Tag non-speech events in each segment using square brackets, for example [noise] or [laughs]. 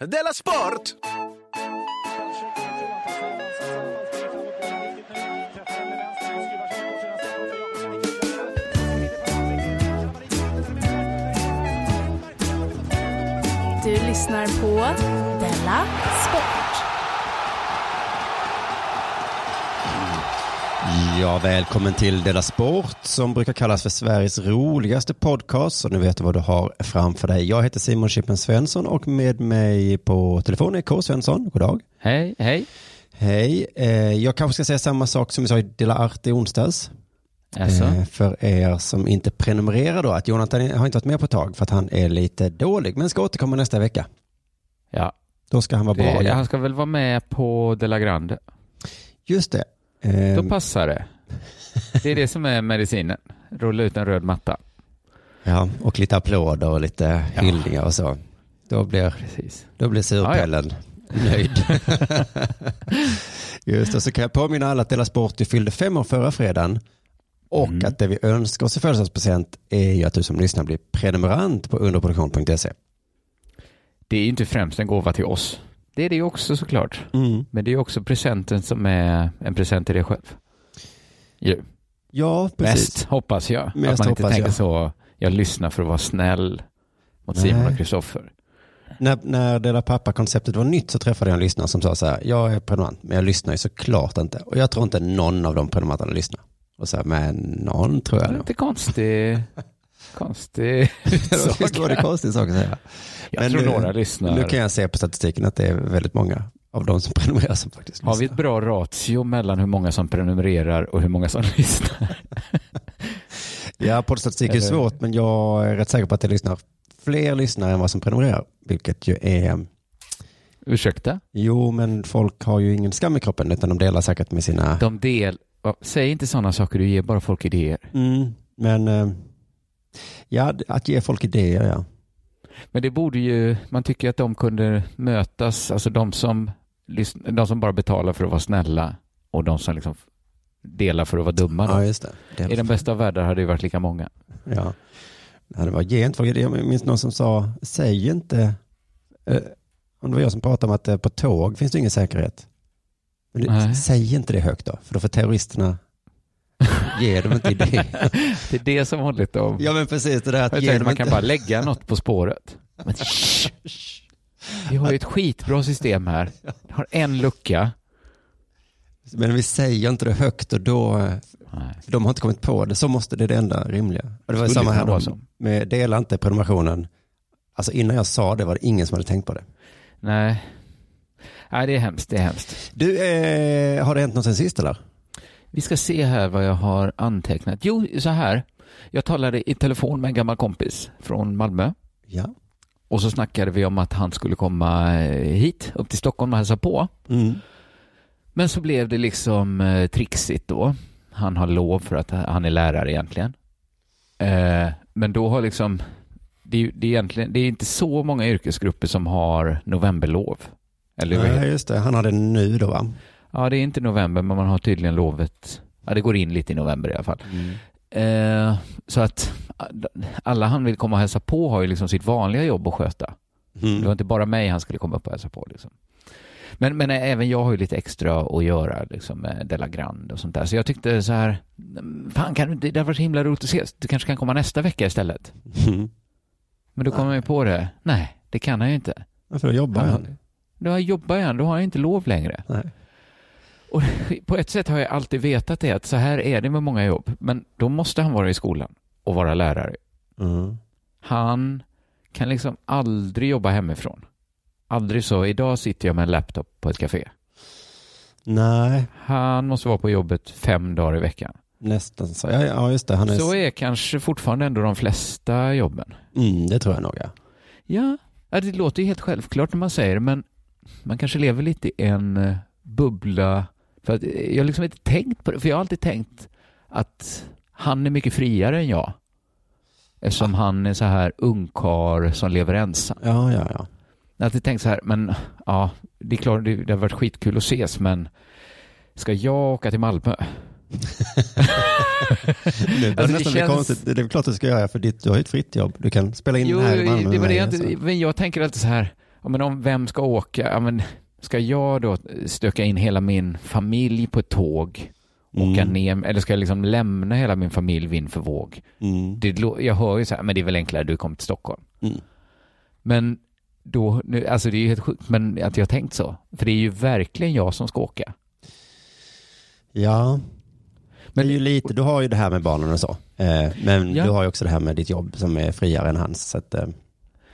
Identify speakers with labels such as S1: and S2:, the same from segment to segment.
S1: Della Sport!
S2: Du lyssnar på Della Sport.
S3: Ja, välkommen till Della Sport som brukar kallas för Sveriges roligaste podcast. Så nu vet du vad du har framför dig. Jag heter Simon Chippen Svensson och med mig på telefon är K. Svensson. God dag.
S4: Hej, hej.
S3: Hej. Eh, jag kanske ska säga samma sak som vi sa i Dela Art i onsdags.
S4: Alltså,
S3: Eh, för er som inte prenumererar då att Jonathan har inte varit med på ett tag för att han är lite dålig men ska återkomma nästa vecka.
S4: ja.
S3: Då ska han vara bra.
S4: Det,
S3: igen.
S4: han ska väl vara med på De La Grande.
S3: Just det. Eh,
S4: Då passar det. Det är det som är medicinen. Rulla ut en röd matta.
S3: ja, och lite applåder och lite
S4: Ja.
S3: hyllningar och så. Då blir
S4: Precis.
S3: Då blir surpellen nöjd. [laughs] Just det, så kan jag påminna alla att Della Sport ju fyllde fem år förra fredagen. Och att det vi önskar oss i födelsedagspresent är ju att du som lyssnar blir prenumerant på underproduktion.se.
S4: Det är ju inte främst en gåva till oss. Det är det ju också såklart.
S3: Mm.
S4: Men det är ju också presenten som är en present till dig själv. Ju.
S3: Ja, precis.
S4: Mest hoppas jag.
S3: Mest
S4: att man inte
S3: hoppas
S4: tänker
S3: jag.
S4: så. Jag lyssnar för att vara snäll mot
S3: Nej.
S4: Simon och Kristoffer.
S3: När, när Della Pappa-konceptet var nytt så träffade jag en lyssnare som sa så här, jag är prenumerant, men jag lyssnar ju såklart inte. Och jag tror inte någon av de prenumeranterna lyssnar. Och så här, men någon tror
S4: Det
S3: jag
S4: är
S3: nog.
S4: lite
S3: [laughs]
S4: konstig. konstig.
S3: Visst var [laughs] det konstigt sak att säga.
S4: Jag
S3: Men
S4: tror
S3: nu-
S4: några lyssnar.
S3: Nu kan jag se på statistiken att det är väldigt många av de som [laughs] prenumererar som faktiskt
S4: Har vi ett
S3: lyssnar.
S4: bra ratio mellan hur många som prenumererar och hur många som [laughs] lyssnar?
S3: Ja, poddstatistik är
S4: Eller-
S3: svårt, men jag är rätt säker på att det lyssnar fler lyssnare än vad som prenumererar, vilket ju är...
S4: Ursäkta?
S3: Jo, men folk har ju ingen skam i kroppen, utan de delar säkert med sina...
S4: De del... Ja, Säg inte sådana saker, du ger bara folk idéer.
S3: Mm, men... eh, Ja, att ge folk idéer, ja.
S4: Men det borde ju... Man tycker att de kunde mötas, alltså de som, lyssn- de som bara betalar för att vara snälla och de som liksom delar för att vara dumma.
S3: Ja,
S4: Då.
S3: just det. Delar
S4: I den bästa av världar hade det varit lika många.
S3: Ja. ja det var, ge inte folk idéer. Jag minns någon som sa, säg inte, eh, om det var jag som pratade om att eh, på tåg finns det ingen säkerhet. Men det,
S4: Nej.
S3: säg inte det högt då, för då får terroristerna ge dem
S4: [laughs]
S3: inte idéer.
S4: Det är det som hållit dem.
S3: ja men precis, det där
S4: Jag
S3: att ge
S4: tänkte
S3: dem
S4: man kan
S3: inte...
S4: bara lägga något på spåret.
S3: [laughs]
S4: Men shh, vi har ju ett skitbra system här. Vi har en lucka.
S3: Men vi säger inte det högt och då, eh,
S4: Nej.
S3: för de har inte kommit på det. Så måste det, det är det enda rimliga. Och det var ju
S4: Skulle
S3: samma
S4: kunna
S3: här
S4: vara
S3: då,
S4: så.
S3: med dela inte prenumerationen. Alltså innan jag sa det var det ingen som hade tänkt på det.
S4: Nej. Nej, det är hemskt. Det är hemskt.
S3: Du, eh, har det hänt något sen sist eller?
S4: Vi ska se här vad jag har antecknat. Jo, så här. Jag talade i telefon med en gammal kompis från Malmö
S3: Ja.
S4: och så snackade vi om att han skulle komma eh, hit upp till Stockholm och hälsa på.
S3: Mm.
S4: Men så blev det liksom eh, trixigt då. Han har lov för att han är lärare egentligen. Eh, men då har liksom, det är, ju- det är egentligen, det är inte så många yrkesgrupper som har novemberlov. Eller vad heter
S3: Nej, just det. Han har det nu då, va?
S4: Ja, det är inte november, men man har tydligen lovet. Ja, det går in lite i november i alla fall. Eh, så att alla han vill komma och hälsa på har ju liksom sitt vanliga jobb att sköta.
S3: Mm.
S4: Det var inte bara mig han skulle komma upp och hälsa på. Liksom. Men, men även jag har ju lite extra att göra liksom, med Della Grande och sånt där. Så jag tyckte så här, fan kan du inte, det hade varit så himla roligt att ses. Du kanske kan komma nästa vecka istället.
S3: Mm.
S4: Men då kom jag ju på det, nej, det kan han ju inte.
S3: [laughs] Varför jobbar han?
S4: Då jobbar han, då har han inte lov längre.
S3: Nej.
S4: Och på ett sätt har jag alltid vetat det, att så här är det med många jobb. Men då måste han vara i skolan och vara lärare.
S3: Mm.
S4: Han kan liksom aldrig jobba hemifrån. Aldrig så, idag sitter jag med en laptop på ett café.
S3: Nej,
S4: Han måste vara på jobbet fem dagar i veckan.
S3: nästan så. Ja, ja just det. Han är...
S4: Så är kanske fortfarande ändå de flesta jobben.
S3: Mm, det tror jag nog, ja.
S4: Ja, ja, det låter ju helt självklart när man säger det, men man kanske lever lite i en eh, bubbla. För att eh, jag har liksom inte tänkt på det, för jag har alltid tänkt att han är mycket friare än jag. Eftersom han är så här ungkar som lever ensam.
S3: Ja, ja,
S4: [laughs]
S3: ja.
S4: Jag har alltid tänkt så här, men ja, det är klart det, det har varit skitkul att ses, men ska jag åka till Malmö?
S3: Det,
S4: Alltså, det
S3: nästan
S4: känns-
S3: känns... konstigt. det är väl klart du ska göra, för ditt, du har ju ett fritt jobb. Du kan spela in
S4: Jo,
S3: här i Malmö. alltså.
S4: det var det
S3: med
S4: jag
S3: dig,
S4: inte, men jag tänker alltid så här, ja, men om vem ska åka? Ja, men ska jag då stöka in hela min familj på ett tåg? Åka
S3: Mm.
S4: ner, eller ska jag liksom lämna hela min familj vind för våg?
S3: Mm.
S4: Det, lå- jag hör ju så här, men det är väl enklare du kommer till Stockholm.
S3: Mm.
S4: Men då, nu, alltså det är ju helt sjukt men att jag har tänkt så. För det är ju verkligen jag som ska åka.
S3: Ja.
S4: Men-
S3: Men det är ju lite, du har ju det här med barnen och så. Eh, men
S4: Ja.
S3: du har ju också det här med ditt jobb som är friare än hans. Så att, eh,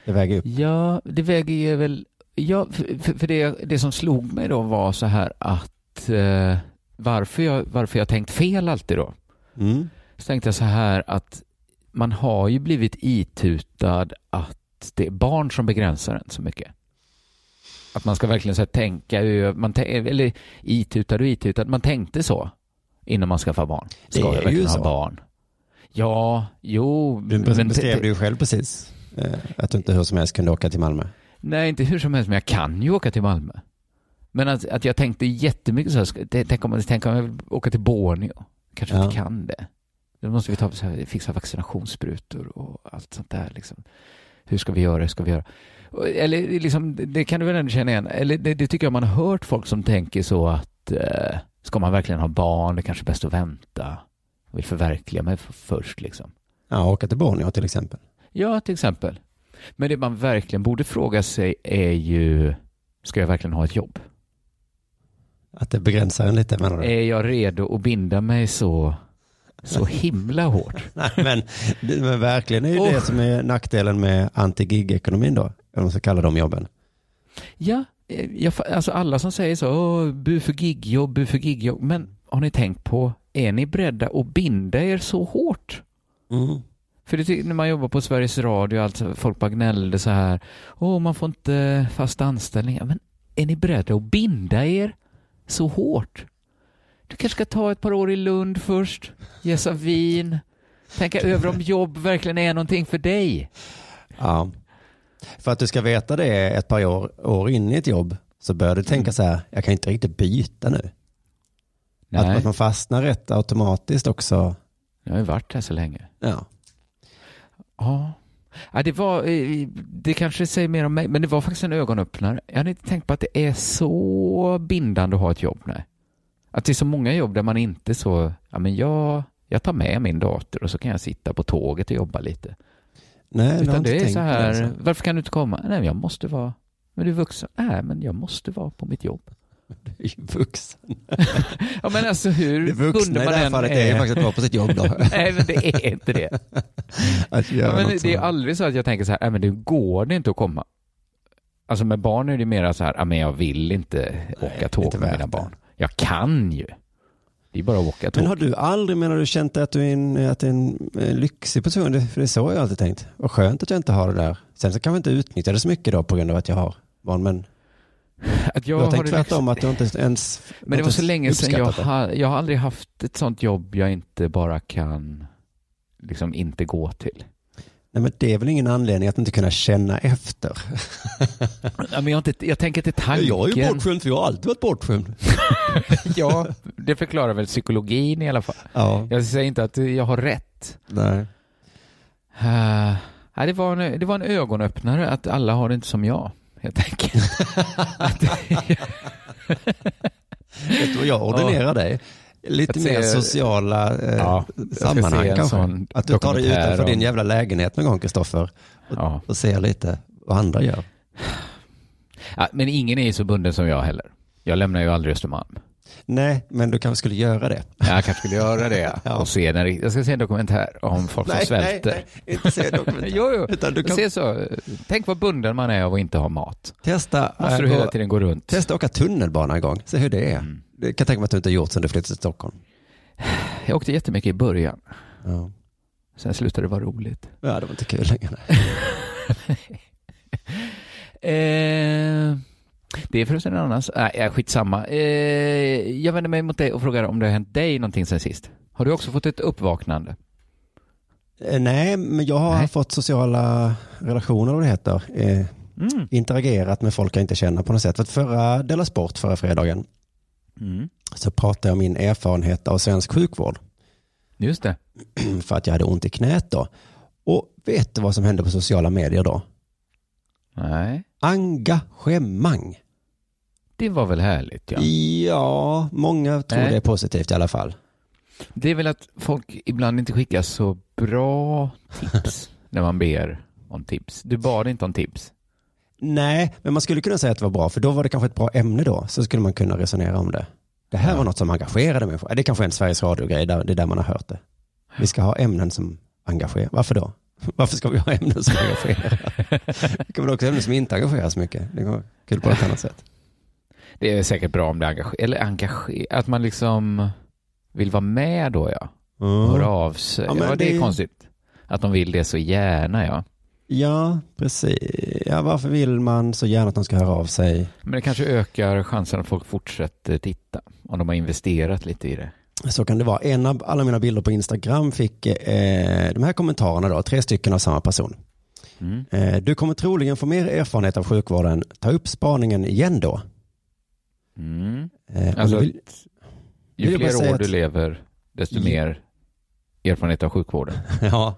S3: det väger upp.
S4: Ja, det väger ju väl... Ja, för, för- för det, det som slog mig då var så här att eh, varför, jag, varför jag tänkt fel alltid då.
S3: Mm.
S4: Så tänkte jag så här att man har ju blivit itutad att det är barn som begränsar en så mycket. Att man ska verkligen så här tänka, hur- man, tän- eh, eller itutad och itutad, man tänkte så innan man skaffar barn.
S3: Det
S4: Ska
S3: är
S4: jag
S3: ju
S4: verkligen
S3: så.
S4: ha barn? Ja, jo.
S3: Du
S4: men-
S3: beskrev det ju själv precis. Eh, att du inte hur som helst kunde åka till Malmö.
S4: Nej, inte hur som helst, men jag kan ju åka till Malmö. Men att, att jag tänkte jättemycket så här, ska- t- tänk om, tänk om jag vill åka till Borneo. Kanske
S3: Ja.
S4: inte kan det. Då måste vi ta, så här, fixa vaccinationssprutor och allt sånt där. Liksom. Hur ska vi göra, hur ska vi göra? Och- Eller liksom, det- det kan du väl ändå känna igen? Eller det, det tycker jag man har hört folk som tänker så att eh, ska man verkligen ha barn, det kanske är bäst att vänta. Jag vill förverkliga mig f- först liksom.
S3: Ja, åka till Borneo till exempel.
S4: Ja, till exempel. Men det man verkligen borde fråga sig är ju, ska jag verkligen ha ett jobb?
S3: Att det begränsar en lite menar du?
S4: Är jag redo att binda mig så, [laughs] så himla hårt?
S3: Nej, men, det- men verkligen är ju
S4: Oh.
S3: det som är nackdelen med anti-gig-ekonomin då. Om man ska kalla de jobben.
S4: Ja, eh, jag, fa- alltså alla som säger så, "Åh, bu för gigjobb, bu för gigjobb. Men har ni tänkt på, är ni beredda att binda er så hårt? Mm. För det tycker, när man jobbar på Sveriges Radio, och allt, så- folk bara gnällde så här, åh man får inte fast anställning. Ja, Men är ni beredda att binda er så hårt? Du kanske ska ta ett par år i Lund först, gäsa vin, tänka över om jobb verkligen är någonting för dig.
S3: Ja. För att du ska veta det ett par år, år in i ett jobb så bör du
S4: Mm.
S3: tänka så här, jag kan inte riktigt byta nu. Att,
S4: Nej,
S3: att man fastnar rätt automatiskt också.
S4: jag har ju varit här så länge.
S3: Ja.
S4: Ja. Ja, det var, eh, det kanske säger mer om mig, men det var faktiskt en ögonöppnare. Jag hade inte tänkt på att det är så bindande att ha ett jobb. Nej. Att det är så många jobb där man inte så, ja men jag, jag tar med min dator och så kan jag sitta på tåget och jobba lite.
S3: Nej, det har
S4: Utan
S3: inte
S4: det är
S3: tänkt
S4: så
S3: på
S4: här,
S3: alltså.
S4: varför kan du inte komma? Nej, men jag måste vara, men du är vuxen. Nej, men jag måste vara på mitt jobb.
S3: Det är ju vuxen.
S4: Ja, men alltså hur
S3: Det vuxna i det här fallet är ju faktiskt att vara på sitt jobb då.
S4: [laughs]
S3: [laughs]
S4: Nej, men det är inte det.
S3: Att göra
S4: Ja, men
S3: något
S4: det är
S3: sånt.
S4: aldrig så att jag tänker så här, "Nej, men det går det inte att komma. Alltså med barn är det mera så här, "Ja, men jag vill inte åka
S3: inte
S4: tåg med
S3: värt
S4: mina
S3: det.
S4: barn. Jag kan ju. Det är bara att åka tåg.
S3: Men har du aldrig, menar du, känt att du är en, att det är en eh, lyxig person? Det- För det är så jag alltid tänkt. Och skönt att jag inte har det där. Sen så kan man inte utnyttja det så mycket då på grund av att jag har barn. Men
S4: Att
S3: jag, har tänkt
S4: det liksom-
S3: tvärtom, att du inte ens
S4: Men det var så länge sedan jag,
S3: uppskattat det.
S4: ha, jag har aldrig haft ett sånt jobb jag inte bara kan liksom inte gå till.
S3: Nej, men det är väl ingen anledning att inte kunna känna efter.
S4: Ja, men jag, har inte, jag tänker till tanken.
S3: bortskämd, för jag har alltid varit bortskämd. [laughs]
S4: ja, det förklarar väl psykologin i alla fall.
S3: Ja,
S4: Jag säger inte att jag har rätt.
S3: nej.
S4: Eh, nej, det, var en, det var en ögonöppnare att alla har det inte som jag, helt enkelt.
S3: Vet du vad jag ordinerar dig? Lite
S4: Att se-
S3: mer sociala eh,
S4: Ja,
S3: sammanhang
S4: se en
S3: kanske.
S4: sån
S3: Att du tar dig
S4: dokumentär
S3: utanför
S4: om-
S3: din jävla lägenhet någon gång, Kristoffer,
S4: ja.
S3: och ser lite vad andra gör.
S4: Ja, men ingen är ju så bunden som jag heller. Jag lämnar ju aldrig Östermalm.
S3: Nej, men du kanske skulle göra det.
S4: Jag kanske skulle göra det
S3: [laughs] Ja.
S4: och se en, rikt- Jag ska se en dokumentär om folk som svälter.
S3: inte se dokumentären.
S4: [laughs] Jo, jo.
S3: Utan du kan
S4: Se så. Tänk vad bunden man är av att inte ha mat.
S3: testa,
S4: Måste
S3: äh,
S4: du hela
S3: gå-
S4: tiden gå runt. Mm.
S3: testa åka tunnelbana en gång, se hur det är. Det kan jag tänka mig att du inte har gjort sedan du flyttade till Stockholm.
S4: Jag åkte jättemycket i början.
S3: Ja,
S4: Sen slutade det vara roligt.
S3: ja det var inte kul längre.
S4: Eh, det är förresten en annan... Nej, äh, skitsamma. Eh, jag vänder mig mot dig och frågar om det har hänt dig någonting sen sist. Har du också fått ett uppvaknande?
S3: Eh, Nej, men jag har
S4: Nej.
S3: fått sociala relationer, vad det heter. Eh,
S4: Mm.
S3: interagerat med folk jag inte känner på något sätt. För att förra Della Sport, förra fredagen, Mm. så pratade jag om min erfarenhet av svensk sjukvård. Mm,
S4: Just det.
S3: För att jag hade ont i knät då. Och vet du vad som hände på sociala medier då?
S4: Nej.
S3: Engagemang.
S4: Det var väl härligt ja.
S3: Ja, många tror
S4: Nej.
S3: det är positivt i alla fall.
S4: Det är väl att folk ibland inte skickar så bra
S3: [laughs]
S4: tips när man ber om tips. Du bad inte om tips.
S3: Nej, men man skulle kunna säga att det var bra, för då var det kanske ett bra ämne då. Så skulle man kunna resonera om det. Det här
S4: Ja.
S3: var något som engagerade människor. Det kanske är en Sveriges Radio-grej, där- det är där man har hört det. Vi ska ha ämnen som engagerar. Varför då? [laughs] Varför ska vi ha ämnen som [laughs] engagerar? Det kommer också ämnen som inte engagerar så mycket. Det går kul på ett annat sätt.
S4: Det är säkert bra om det engagerar, eller engagerar, att man liksom vill vara med då ja. Höra av sig.
S3: Ja,
S4: Ja,
S3: men
S4: det
S3: det-
S4: är konstigt. Att de vill det så gärna ja.
S3: Ja, precis. Ja, varför vill man så gärna att någon ska höra av sig?
S4: Men det kanske ökar chansen att folk fortsätter titta. Om de har investerat lite i det.
S3: Så kan det vara. En av alla mina bilder på Instagram fick eh, de här kommentarerna då, tre stycken av samma person.
S4: Mm.
S3: Eh, du kommer troligen få mer erfarenhet av sjukvården. Ta upp spaningen igen då.
S4: Mm.
S3: Eh, om
S4: Alltså,
S3: du vill, [laughs]
S4: Ju
S3: jag bara
S4: fler
S3: säga
S4: år du
S3: att-
S4: lever, desto
S3: Ja.
S4: mer erfarenhet av sjukvården.
S3: ja,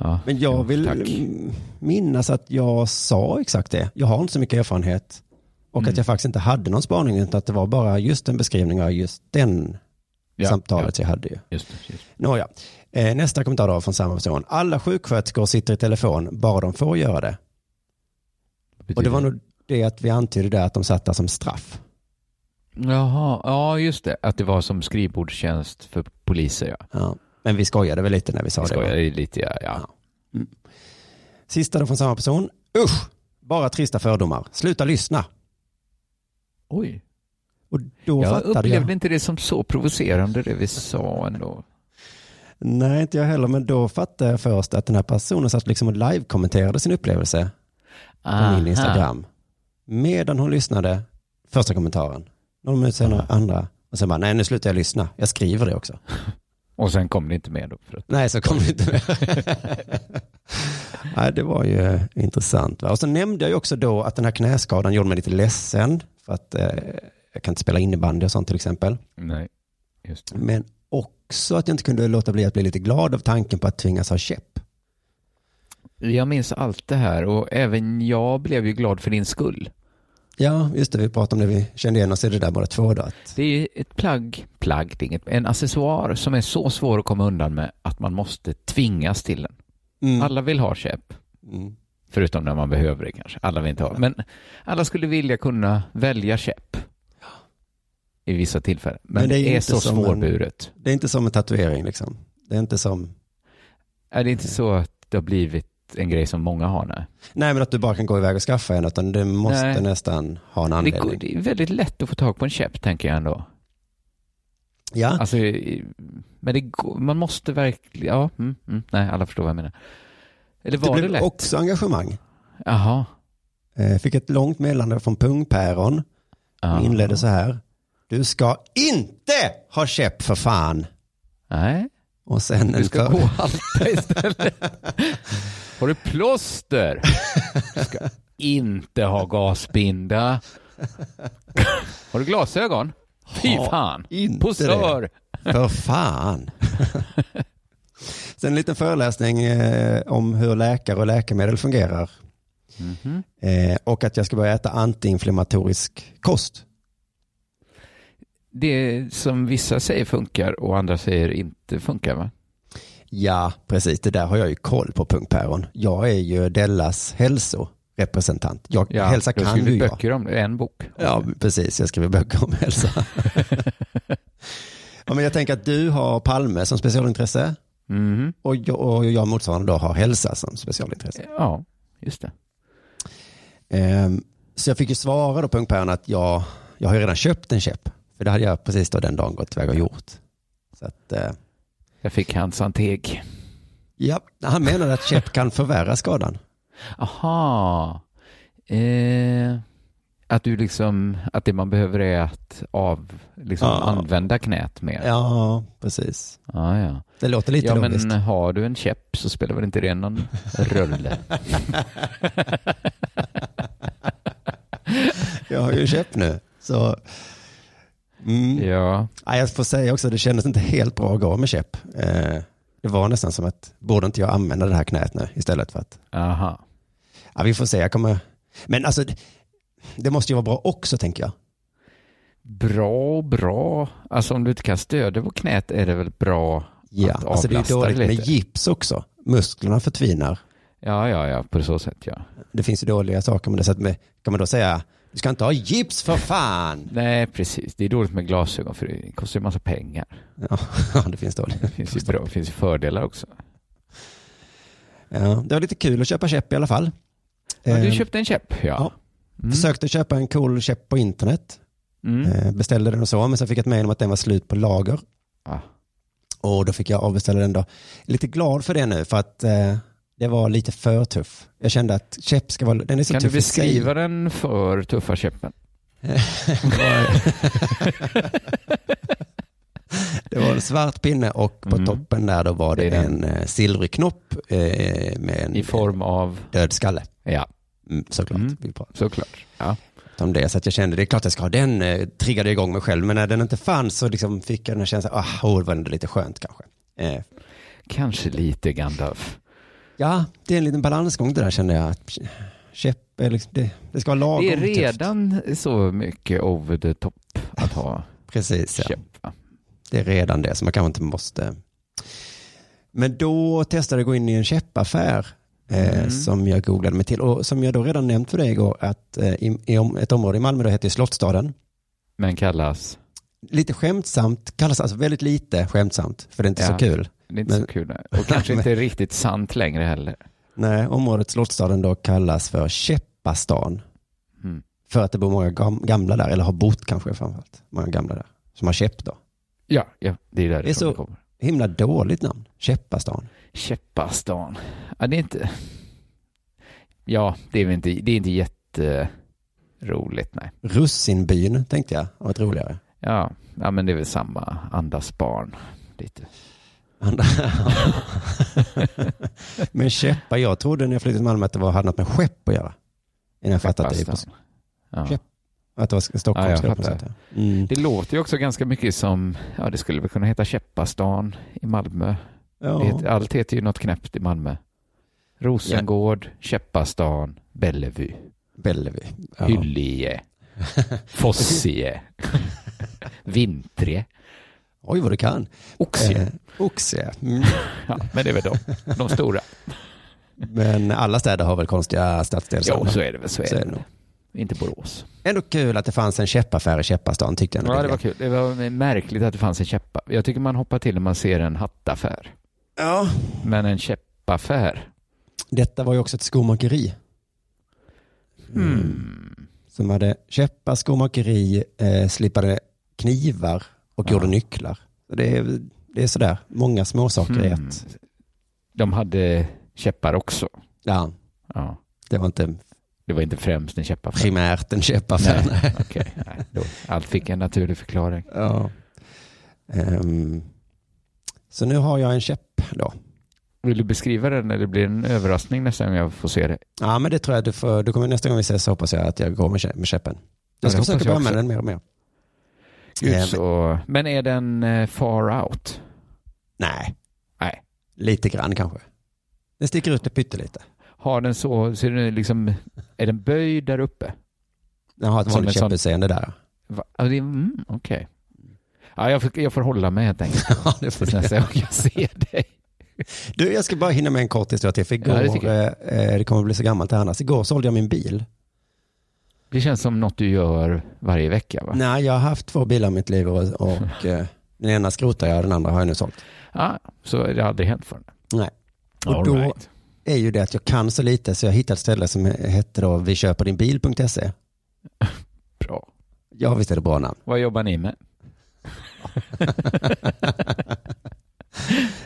S4: Ja.
S3: men jag
S4: Ja,
S3: vill
S4: tack.
S3: m- minnas att jag sa exakt det. Jag har inte så mycket erfarenhet. Och
S4: Mm.
S3: att jag faktiskt inte hade någon spaning, utan att det var bara just en beskrivning av just den
S4: Ja,
S3: samtalet jag hade ju.
S4: Ja, just, det, just. det.
S3: Nåja, eh, nästa kommentar då från samma person. Alla sjuksköterskor sitter i telefon, bara de får göra det. Och det var nog det att vi antydde där att de satt där som straff.
S4: Jaha, ja just det. Att det var som skrivbordstjänst för poliser ja.
S3: Ja. Men vi skojade väl lite när vi sa
S4: Jag
S3: det. va?
S4: skojar lite ja. ja.
S3: Sista då från samma person. Usch, bara trista fördomar. Sluta lyssna.
S4: Oj.
S3: Och då
S4: Jag
S3: fattade
S4: upplevde
S3: jag.
S4: inte det som så provocerande det vi sa ändå.
S3: Nej, inte jag heller. Men då fattade jag först att den här personen satt liksom och live-kommenterade sin upplevelse på min Instagram. Medan hon lyssnade, första kommentaren. Någon minut senare, andra. Och sen bara, nej nu slutar jag lyssna. Jag skriver det också.
S4: Och sen kom det inte med då. För att...
S3: Nej, så kom det inte med. [laughs] Nej, det var ju eh, intressant. Va? Och så nämnde jag ju också då att den här knäskadan gjorde mig lite ledsen. För att eh, jag kan inte spela innebandy och sånt till exempel.
S4: Nej, just det.
S3: Men också att jag inte kunde låta bli att bli lite glad av tanken på att tvingas ha käpp.
S4: Jag minns allt det här och även jag blev ju glad för din skull.
S3: Ja, just det. Vi pratade om det. Vi kände igen oss i det där båda två. Då, att,
S4: Det är ett plagg, plagg, det är inget, en accessoar som är så svår att komma undan med att man måste tvingas till den.
S3: mm,
S4: Alla vill ha käpp,
S3: mm,
S4: förutom när man behöver det kanske. Alla vill inte ha, men alla skulle vilja kunna välja käpp i vissa tillfällen. Men, det är,
S3: ju inte
S4: så
S3: som en-
S4: svårburet.
S3: det är inte som en tatuering liksom. Det är inte som...
S4: Är det inte så att det har blivit en grej som många har? Nej.
S3: Nej, men att du bara kan gå iväg och skaffa en. Utan du måste
S4: Nej.
S3: nästan ha en
S4: Det, går-
S3: anledning.
S4: det är väldigt lätt att få tag på en käpp, tänker jag ändå.
S3: Ja,
S4: Alltså, i- men det går, man måste verkligen, ja, mm, mm, nej, alla förstår vad jag menar. Eller var
S3: det
S4: det,
S3: blev
S4: lätt?
S3: också engagemang.
S4: Jaha.
S3: Eh, Fick ett långt meddelande från Pungpäron.
S4: Ja.
S3: Hon inledde så här. Du ska inte ha käpp för fan.
S4: Nej,
S3: Och sen
S4: du
S3: en
S4: ska
S3: för...
S4: gå och halta istället.
S3: [laughs]
S4: Har du plåster? Du ska inte ha gasbinda. Har du glasögon? Fy
S3: Ha
S4: fan.
S3: inte
S4: Posör. [laughs]
S3: För fan. Sen en liten föreläsning eh, om hur läkare och läkemedel fungerar.
S4: Mhm.
S3: Eh, och att jag ska börja äta antiinflammatorisk kost.
S4: Det som vissa säger funkar och andra säger inte funkar va?
S3: Ja, precis. Det där har jag ju koll på, Pungpäron. Jag är ju Dellas hälsorepresentant. Jag, hälsa
S4: du har
S3: kan ju
S4: skrivit
S3: jag.
S4: böcker om det, en bok.
S3: Ja, precis. Jag skriver böcker om
S4: [laughs]
S3: hälsa. ja, men jag tänker att du har Palme som specialintresse
S4: Mhm.
S3: och jag, och jag motsvarande då har hälsa som specialintresse.
S4: Ja, just det.
S3: Ehm, så jag fick ju svara då punktpäron att jag, jag har ju redan köpt en käpp. För det hade jag precis då den dagen gått iväg och gjort. Så att, eh,
S4: Jag fick hans anteg.
S3: ja, han menade att käpp kan förvärra skadan.
S4: Aha. Eh, att du liksom, att det man behöver är att av, liksom
S3: Ja.
S4: använda knät mer. Ja,
S3: Ja, precis.
S4: ja. ja.
S3: Det låter lite logiskt.
S4: men har du en käpp så spelar väl inte det någon
S3: [laughs]
S4: roll?
S3: Jag har ju en käpp nu. Så, mm.
S4: ja.
S3: Ja, jag får säga också, det kändes inte helt bra att gå med käpp. Eh, det var nästan som att, borde inte jag använda det här knät nu istället för att,
S4: Aha.
S3: ja vi får se, jag kommer, Men alltså, det måste ju vara bra också tänker jag.
S4: Bra och bra. Alltså om du inte kan stödja på knät är det väl bra
S3: Ja,
S4: att
S3: alltså det är ju
S4: avlasta
S3: dåligt
S4: lite.
S3: med gips också. Musklerna förtvinar.
S4: Ja, ja, ja, på så sätt ja.
S3: Det finns ju dåliga saker med det. Så att med, kan man då säga, du ska inte ha gips för fan.
S4: Nej, precis. Det är dåligt med glasögon för det kostar ju massa pengar.
S3: Ja, [laughs] ja, det finns dåligt.
S4: Det finns ju, bra, det finns ju fördelar också.
S3: Ja, det var lite kul att köpa käpp i alla fall.
S4: Ja, du
S3: Eh,
S4: köpte en käpp, ja.
S3: ja.
S4: Mm.
S3: Försökte köpa en cool käpp på internet.
S4: Mm.
S3: Eh, Beställde den och så, men sen fick jag ett mejl om att den var slut på lager.
S4: Ah.
S3: Och då fick jag avbeställa den då. Jag är Lite glad för det nu, för att eh, det var lite för tuff. Jag kände att käpp ska vara, den är så
S4: Kan du
S3: tuff i sig.
S4: beskriva den för tuffa käppen?
S3: Det var en svart pinne och på
S4: Mm.
S3: toppen där då var det,
S4: Det är den.
S3: en eh, silvrig knopp eh, med en
S4: I form av,
S3: död skalle.
S4: ja,
S3: Mm, såklart.
S4: Mm.
S3: Vi pratade
S4: såklart. Ja.
S3: om det. Så att jag kände, det är klart jag ska ha den, eh, triggade jag igång mig själv. Men när den inte fanns så liksom fick jag den här känslan, ah, oh, det var ändå lite skönt kanske. Eh,
S4: Kanske lite Gandalf.
S3: ja, det är en liten balansgång det där kände jag. Att Käpp, är liksom, det, det ska vara lagom
S4: Det är
S3: tufft.
S4: redan så mycket over the top att ha
S3: Precis, [laughs] ja.
S4: käpp. va?
S3: Det är redan det, så man kanske inte måste. Men då testade jag att gå in i en käppaffär eh,
S4: Mm.
S3: som jag googlade mig till. Och som jag då redan nämnt för dig igår, att eh, i, i om, ett område i Malmö då heter Slottstaden.
S4: Men kallas,
S3: Lite skämtsamt, kallas alltså väldigt lite skämtsamt, för det är inte
S4: Ja.
S3: så kul.
S4: det är inte
S3: Men-
S4: så kul. nej. Och
S3: [laughs]
S4: kanske inte riktigt sant längre heller.
S3: Nej, området Slottstaden då kallas för Käppastan.
S4: Mm.
S3: För att det bor många gam- gamla där, eller har bott kanske framförallt. Många gamla där, som har käpp då.
S4: Ja, ja, det är därifrån
S3: Det är så-
S4: det kommer.
S3: Himla dåligt namn, Käppastan.
S4: Käppastan. Ja, det är inte... Ja, det är väl inte, det är inte jätteroligt, nej.
S3: Russinbyn tänkte jag, var roligare.
S4: Ja, ja, men det är väl samma andas barn. Lite.
S3: Andra- [laughs] men käppar, jag trodde när jag flyttade till Malmö att det var, hade något med skepp att göra. Innan jag fattade att det, är på,
S4: Käppastan. Ja.
S3: Käpp- att det var Stockholm.
S4: Ja, jag
S3: på något
S4: fattar.
S3: sätt, ja. Mm.
S4: Det låter ju också ganska mycket som, ja det skulle väl kunna heta Käppastan i Malmö. Det
S3: Ja.
S4: heter- Allt heter ju något knäppt i Malmö. Rosengård, Käppastan, Bellevue,
S3: Bellevue. Ja.
S4: Hyllie,
S3: [laughs]
S4: Fossie, Vintrie,
S3: Oj vad du kan.
S4: Oxie.
S3: Eh, Oxie. Mm.
S4: Ja, men det är väl de, de
S3: [laughs]
S4: stora.
S3: Men alla städer har väl konstiga
S4: Jo,
S3: stadsdelsnamn.
S4: så är det väl. Så är
S3: Så är
S4: det.
S3: det nog.
S4: väl. Inte Borås.
S3: Ändå kul att det fanns en käppaffär i Käppastan tyckte jag. ändå.
S4: Ja, det var kul. Det var märkligt att det fanns en käppa. Jag tycker man hoppar till när man ser en hattaffär.
S3: ja.
S4: Men en käppaffär?
S3: Detta var ju också ett skomakeri. Mm.
S4: Hmm.
S3: Som hade käppar, skomakeri, eh, slipade knivar och
S4: Ja.
S3: gjorde nycklar. Så Det är, det är sådär, många småsaker i
S4: Hmm.
S3: ett.
S4: De hade käppar också.
S3: Ja,
S4: Ja.
S3: det var inte
S4: Det var inte främst en käppaffär.
S3: primärt en käppaffär. Nej.
S4: Okej, nej, då. Allt fick en naturlig förklaring.
S3: Ja. Ehm, så nu har jag en käpp då.
S4: Vill du beskriva den eller blir det en överraskning nästa gång jag får se det?
S3: Ja, men det tror jag du får, du kommer nästa gång vi ses så hoppas jag att jag går med, kä- med käppen. Jag ska
S4: hoppas
S3: försöka
S4: jag
S3: börja med
S4: också.
S3: den mer och mer.
S4: Gud,
S3: Eh,
S4: så... Men är den eh, far out?
S3: Nej.
S4: Nej.
S3: Lite grann kanske. Den sticker ut det pyttelite.
S4: Har den så, så är den liksom, är den böjd där uppe?
S3: Den har ett
S4: Som
S3: vanligt
S4: en sån-
S3: käpputseende där. [laughs]
S4: Va? Ja, det- Mm, Okej. Ja, jag, får, jag får hålla mig helt
S3: [laughs]
S4: enkelt
S3: Ja, det får
S4: tills
S3: du
S4: nästa gång jag ser dig.
S3: Du, jag ska bara hinna med en kort historia till. För igår,
S4: Ja, det tycker
S3: eh, eh, det kommer att bli så gammalt här annars. Igår sålde jag min bil.
S4: Det känns som något du gör varje vecka va?
S3: Nej, jag har haft två bilar i mitt liv
S4: [laughs]
S3: och, och eh, den ena skrotar jag, den andra har jag nu sålt.
S4: Ja, så det har aldrig hänt förrän.
S3: Nej. Och
S4: All
S3: då-
S4: right.
S3: är ju det att jag kan så lite så jag hittade ett ställe som hette då viköperdinbil.se.
S4: Bra.
S3: Ja, visst är E. det bra namn.
S4: Vad jobbar ni med?
S3: [laughs]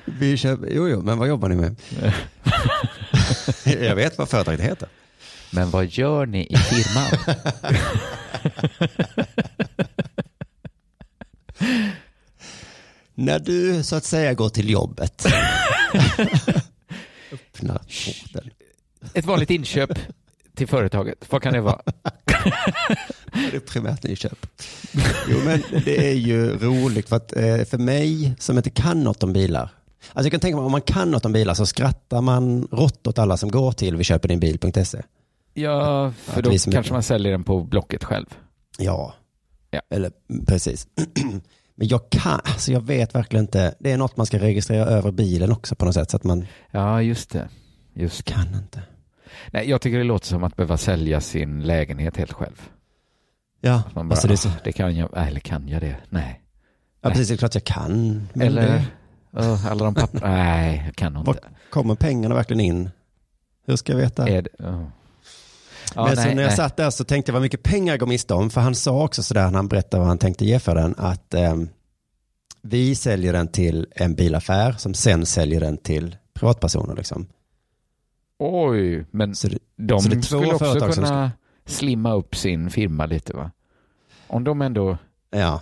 S3: Vi köper, jo, jo, men vad jobbar ni med? [laughs] jag vet vad företaget heter.
S4: Men vad gör ni i firman?
S3: När du så att säga går till jobbet. [laughs] Öppna porten.
S4: Ett vanligt inköp till företaget. Vad kan det vara?
S3: Det är primärt nyköp. Jo, men det är ju roligt för att eh, för mig som inte kan något om bilar. Alltså jag kan E. tänka mig om man kan något om bilar så skrattar man rått åt alla som går till vi köper din bil.se.
S4: Ja, för
S3: det
S4: då
S3: blir så
S4: kanske
S3: mycket.
S4: man säljer den på Blocket själv.
S3: Ja.
S4: Ja.
S3: Eller mm, precis. [clears throat] Men jag kan, alltså jag vet verkligen inte. Det är något man ska registrera över bilen också på något sätt. Så att man
S4: Ja, just det. Just det.
S3: kan inte.
S4: Nej, jag tycker det låter som att behöva sälja sin lägenhet helt själv.
S3: Ja,
S4: Att man bara,
S3: alltså det är så,
S4: "Ah, det kan jag, eller kan jag det? Nej.
S3: ja precis. Det är klart jag kan. Men
S4: Eller,
S3: det,
S4: "Åh, alla de
S3: [laughs]
S4: papper, nej, jag kan nog
S3: Vad-
S4: inte.
S3: kommer pengarna verkligen in? Hur ska jag veta?
S4: Är det, åh. Eh, ja,
S3: men så
S4: nej,
S3: när jag
S4: nej.
S3: satt där så tänkte jag vad mycket pengar jag går miste om. För han sa också sådär när han berättade vad han tänkte ge för den att ehm, vi säljer den till en bilaffär som sen säljer den till privatpersoner liksom.
S4: Oj, men
S3: Så det,
S4: de
S3: så det är två
S4: skulle också
S3: företag
S4: kunna
S3: som
S4: slimma upp sin firma lite va? Om de ändå,
S3: ja,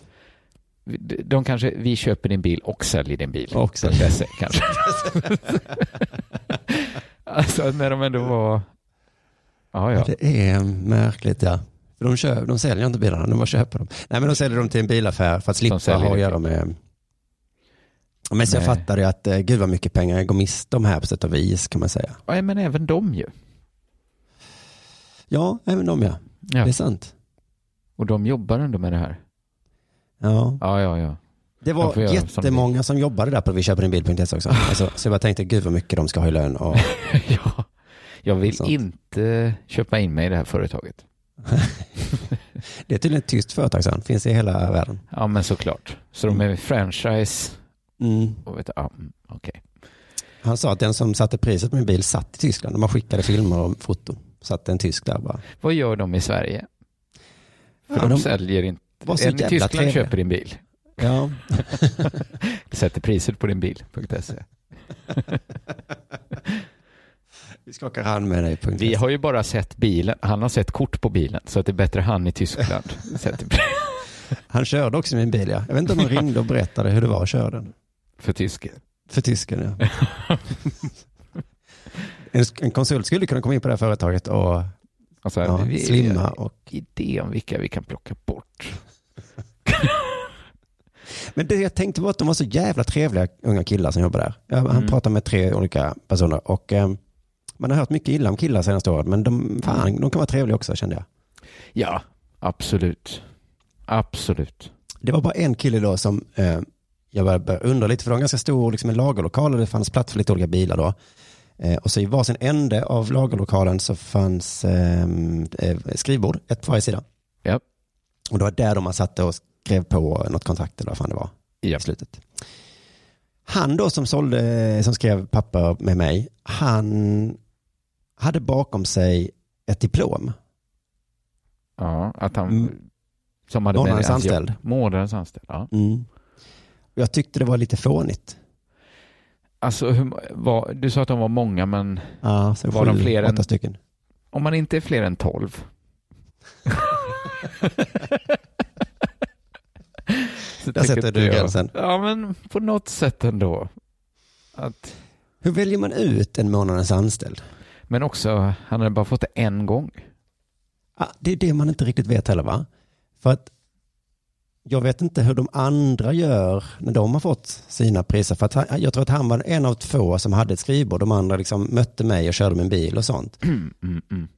S4: de kanske, vi köper din bil och säljer din bil.
S3: Och säljer.
S4: Till SE, kanske. [laughs] alltså när de ändå var, ja ja.
S3: det är märkligt ja. För de, köper, de säljer inte bilarna, de bara köper dem. Nej men de säljer dem till en bilaffär för att slippa
S4: säljer
S3: ha att
S4: det
S3: göra med men så jag
S4: Nej.
S3: fattade ju att eh, gud vad mycket pengar jag går miste om här på sätt och vis kan man säga.
S4: ja. Men även de ju.
S3: Ja, även de ja.
S4: Ja.
S3: Det är sant.
S4: Och de jobbar ändå med det här.
S3: Ja.
S4: Ja, ja, ja. [laughs]
S3: Det
S4: De
S3: var
S4: får göra som de vill.
S3: jättemånga som jobbade där på vi köper en
S4: [laughs]
S3: bil.se också. Alltså, så jag bara tänkte, gud vad mycket de ska ha i lön. Och,
S4: ja. Jag vill
S3: Sant.
S4: inte köpa in mig i det här företaget.
S3: det är tydligen ett tyst företag, sa han. Finns i hela världen.
S4: Ja, men såklart. Så de är franchise
S3: Mm.
S4: och vet, ja, mm, okej.
S3: Han sa att den som satte priset på min bil satt i Tyskland. De skickade filmer och foton. Satt en tysk där bara.
S4: Vad gör de i Sverige? För
S3: Ja,
S4: de,
S3: de
S4: säljer inte.
S3: Var så
S4: En i
S3: jävla
S4: Tyskland
S3: trevliga.
S4: köper din bil.
S3: Ja.
S4: Sätter priset på din bil.se.
S3: Vi skakar hand med dig. punkt.
S4: Vi har ju bara sett bilen. Han har sett kort på bilen. Så att det är bättre han i
S3: [laughs]
S4: Tyskland. Sätter pris
S3: Han körde också min bil, ja. Jag vet inte om han ringde och berättade hur det var att köra den.
S4: för tysken.
S3: För tysken,
S4: [laughs]
S3: ja. En- En konsult skulle kunna komma in på det här företaget och
S4: Alltså,
S3: ja,
S4: vi-
S3: slimma och
S4: idé om vilka vi kan plocka bort.
S3: Men det jag tänkte var att de var så jävla trevliga unga killar som jobbar där. Ja, Han
S4: Mm.
S3: pratar med tre olika personer och eh, man har hört mycket illa om killar senaste året men de,
S4: Mm.
S3: fan, de kan vara trevliga också kände jag.
S4: Ja, absolut. Absolut.
S3: Det var bara en kille då som eh, jag började började undra lite för det var en ganska stor liksom, en lagerlokal och det fanns plats för lite olika bilar då. Eh, och så i varsin ände av lagerlokalen så fanns eh, eh, skrivbord, ett på varje sida.
S4: Ja.
S3: Och det var där då man satte och skrev på något kontrakt eller vad fan det var.
S4: Ja.
S3: i slutet. Han då som, sålde, som skrev papper med mig, han hade bakom sig ett diplom.
S4: Ja, att han...
S3: Mm.
S4: Som hade
S3: Månadens
S4: med- hans jobb.
S3: anställd.
S4: Månadens anställd, ja.
S3: Mm. Jag tyckte det var lite fånigt.
S4: Alltså, hur, var, du sa att de var många, men
S3: Ja, så
S4: Var de
S3: sju,
S4: fler än-
S3: Åtta stycken.
S4: om man inte är fler än
S3: [laughs]
S4: tolv. Så
S3: Där sätter
S4: tycker
S3: du
S4: inte jag-
S3: gränsen.
S4: Ja, men på något sätt ändå. Att,
S3: Hur väljer man ut en månadens anställd?
S4: men också, han hade bara fått det en gång.
S3: Ja, det är det man inte riktigt vet heller va? För att jag vet inte hur de andra gör när de har fått sina priser. För att han, jag tror att han var en av två som hade ett skrivbord. De andra liksom mötte mig och körde min bil och sånt.
S4: Mm, mm, mm.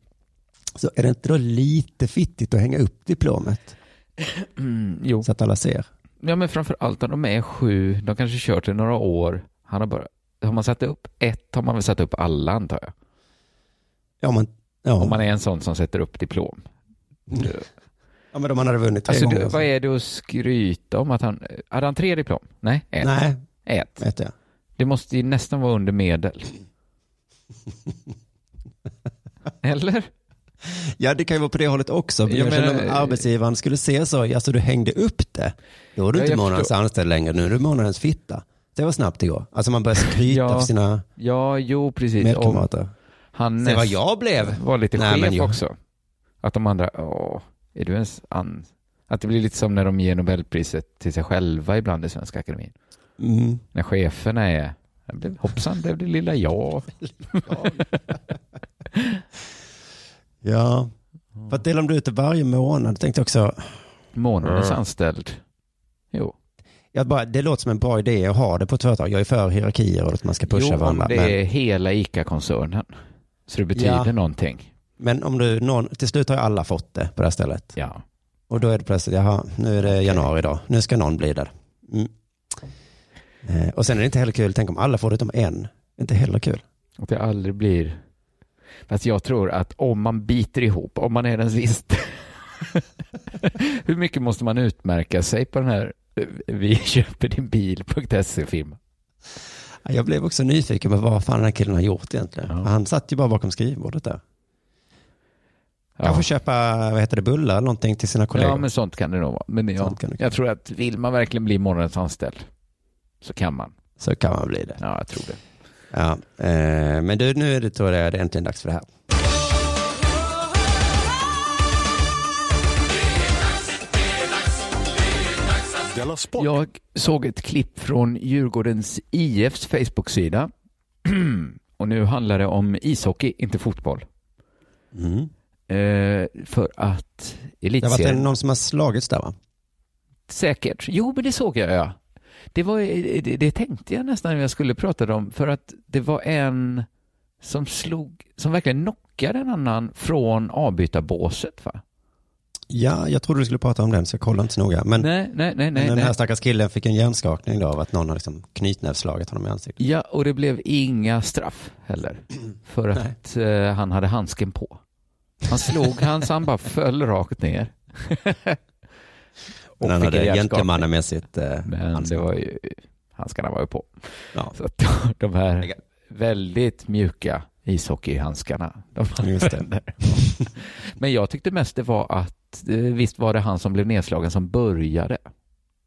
S3: Så är det inte då lite fittigt att hänga upp diplomet
S4: Mm, jo.
S3: så att alla ser?
S4: Ja, men framför allt när de är sju, de kanske kört i några år. Han har bara, har man satt upp ett har man väl satt upp alla antar jag.
S3: Ja, men, ja.
S4: Om man är en sån som sätter upp diplom.
S3: ja, men om man hade vunnit tre
S4: Alltså,
S3: gånger.
S4: du, vad är det att skryta om att han, hade han tre diplom? Nej, ett.
S3: Nej,
S4: ett.
S3: vet jag.
S4: Det måste ju nästan vara under medel. Eller?
S3: Ja, det kan ju vara på det hållet också. Men
S4: Ja,
S3: jag
S4: men-
S3: känner om arbetsgivaren skulle se så, alltså du hängde upp det, då är du
S4: Ja,
S3: inte
S4: jag
S3: månadens
S4: förstår.
S3: anställd längre, nu är du månadens fitta. Det var snabbt det går. Alltså man börjar skryta
S4: Ja.
S3: för sina
S4: Ja, jo, precis. Om
S3: medkamrater.
S4: han
S3: Se vad
S4: näst-
S3: jag blev.
S4: var lite
S3: Nej, men
S4: chef
S3: jag-
S4: också. Att de andra, åh, är du ens an... Att det blir lite som när de ger Nobelpriset till sig själva ibland i Svenska Akademin. [laughs]
S3: Mm.
S4: När cheferna är, "Jag blev- hoppsan, blev det lilla jag.
S3: Ja, för att delar de ut det varje månad, tänkte jag också,
S4: Månadens anställd. Jo,
S3: jag bara, det låter som en bra idé att ha det på ett företag. Jag är för hierarkier och att man ska pusha
S4: jo om
S3: varandra.
S4: det
S3: men-
S4: är hela ICA-koncernen. Så det betyder
S3: Ja.
S4: någonting.
S3: Men om du, någon, till slut har ju alla fått det på det här stället.
S4: Ja.
S3: Och då är det plötsligt, jaha, nu är det januari idag. Nu ska någon bli där. Mm. Eh, och sen är det inte heller kul, tänk om alla får det utom en. Inte heller kul.
S4: Att det aldrig blir... Fast jag tror att om man biter ihop, om man är den sista... [laughs] Hur mycket måste man utmärka sig på den här eh, vi [laughs] köper din bil.se-film?
S3: Ja, Jag blev också nyfiken på vad fan den här killen har gjort egentligen.
S4: Ja.
S3: För Han satt ju bara bakom skrivbordet där.
S4: Ja.
S3: Kanske köpa, vad heter det, bullar eller någonting till sina kollegor.
S4: ja, men sånt kan det nog vara. Men ja,
S3: Sånt kan det-
S4: jag tror att vill man verkligen bli morgonens anställd så kan man.
S3: Så kan man bli det.
S4: Ja, jag tror det.
S3: Ja. Eh, men du, nu är det, tror jag, det är äntligen dags för det här.
S1: Della Sport.
S4: Jag såg ett klipp från Djurgårdens IFs Facebook-sida. [clears throat] Och nu handlar det om ishockey, inte fotboll.
S3: Mm.
S4: Eh, för att
S3: Det har varit
S4: elitserien...
S3: en- någon som har slagits där va?
S4: Säkert. Jo, men det såg jag, ja. Det, var, eh, det, det tänkte jag nästan när jag skulle prata om, för att det var en som slog, som verkligen knockade en annan från avbytarbåset, va?
S3: Ja, jag trodde du skulle prata om den så jag kollar inte så noga. Men,
S4: Nej, nej, nej,
S3: men
S4: nej.
S3: den
S4: nej.
S3: här stackars killen fick en hjärnskakning då av att någon har liksom knytnävsslagit honom i ansiktet.
S4: Ja, och det blev inga straff heller, för att eh, han hade handsken på. Han slog han så han bara föll rakt ner. [laughs]
S3: Men han
S4: fick en
S3: hade
S4: hjärnskakning.
S3: gentlemannamässigt eh,
S4: Men det
S3: handskar.
S4: var ju, handskarna var ju på.
S3: Ja.
S4: Så att [laughs] de här väldigt mjuka ishockeyhandskarna. De
S3: Just det.
S4: använder. Men jag tyckte mest det var att eh, visst var det han som blev nedslagen som började.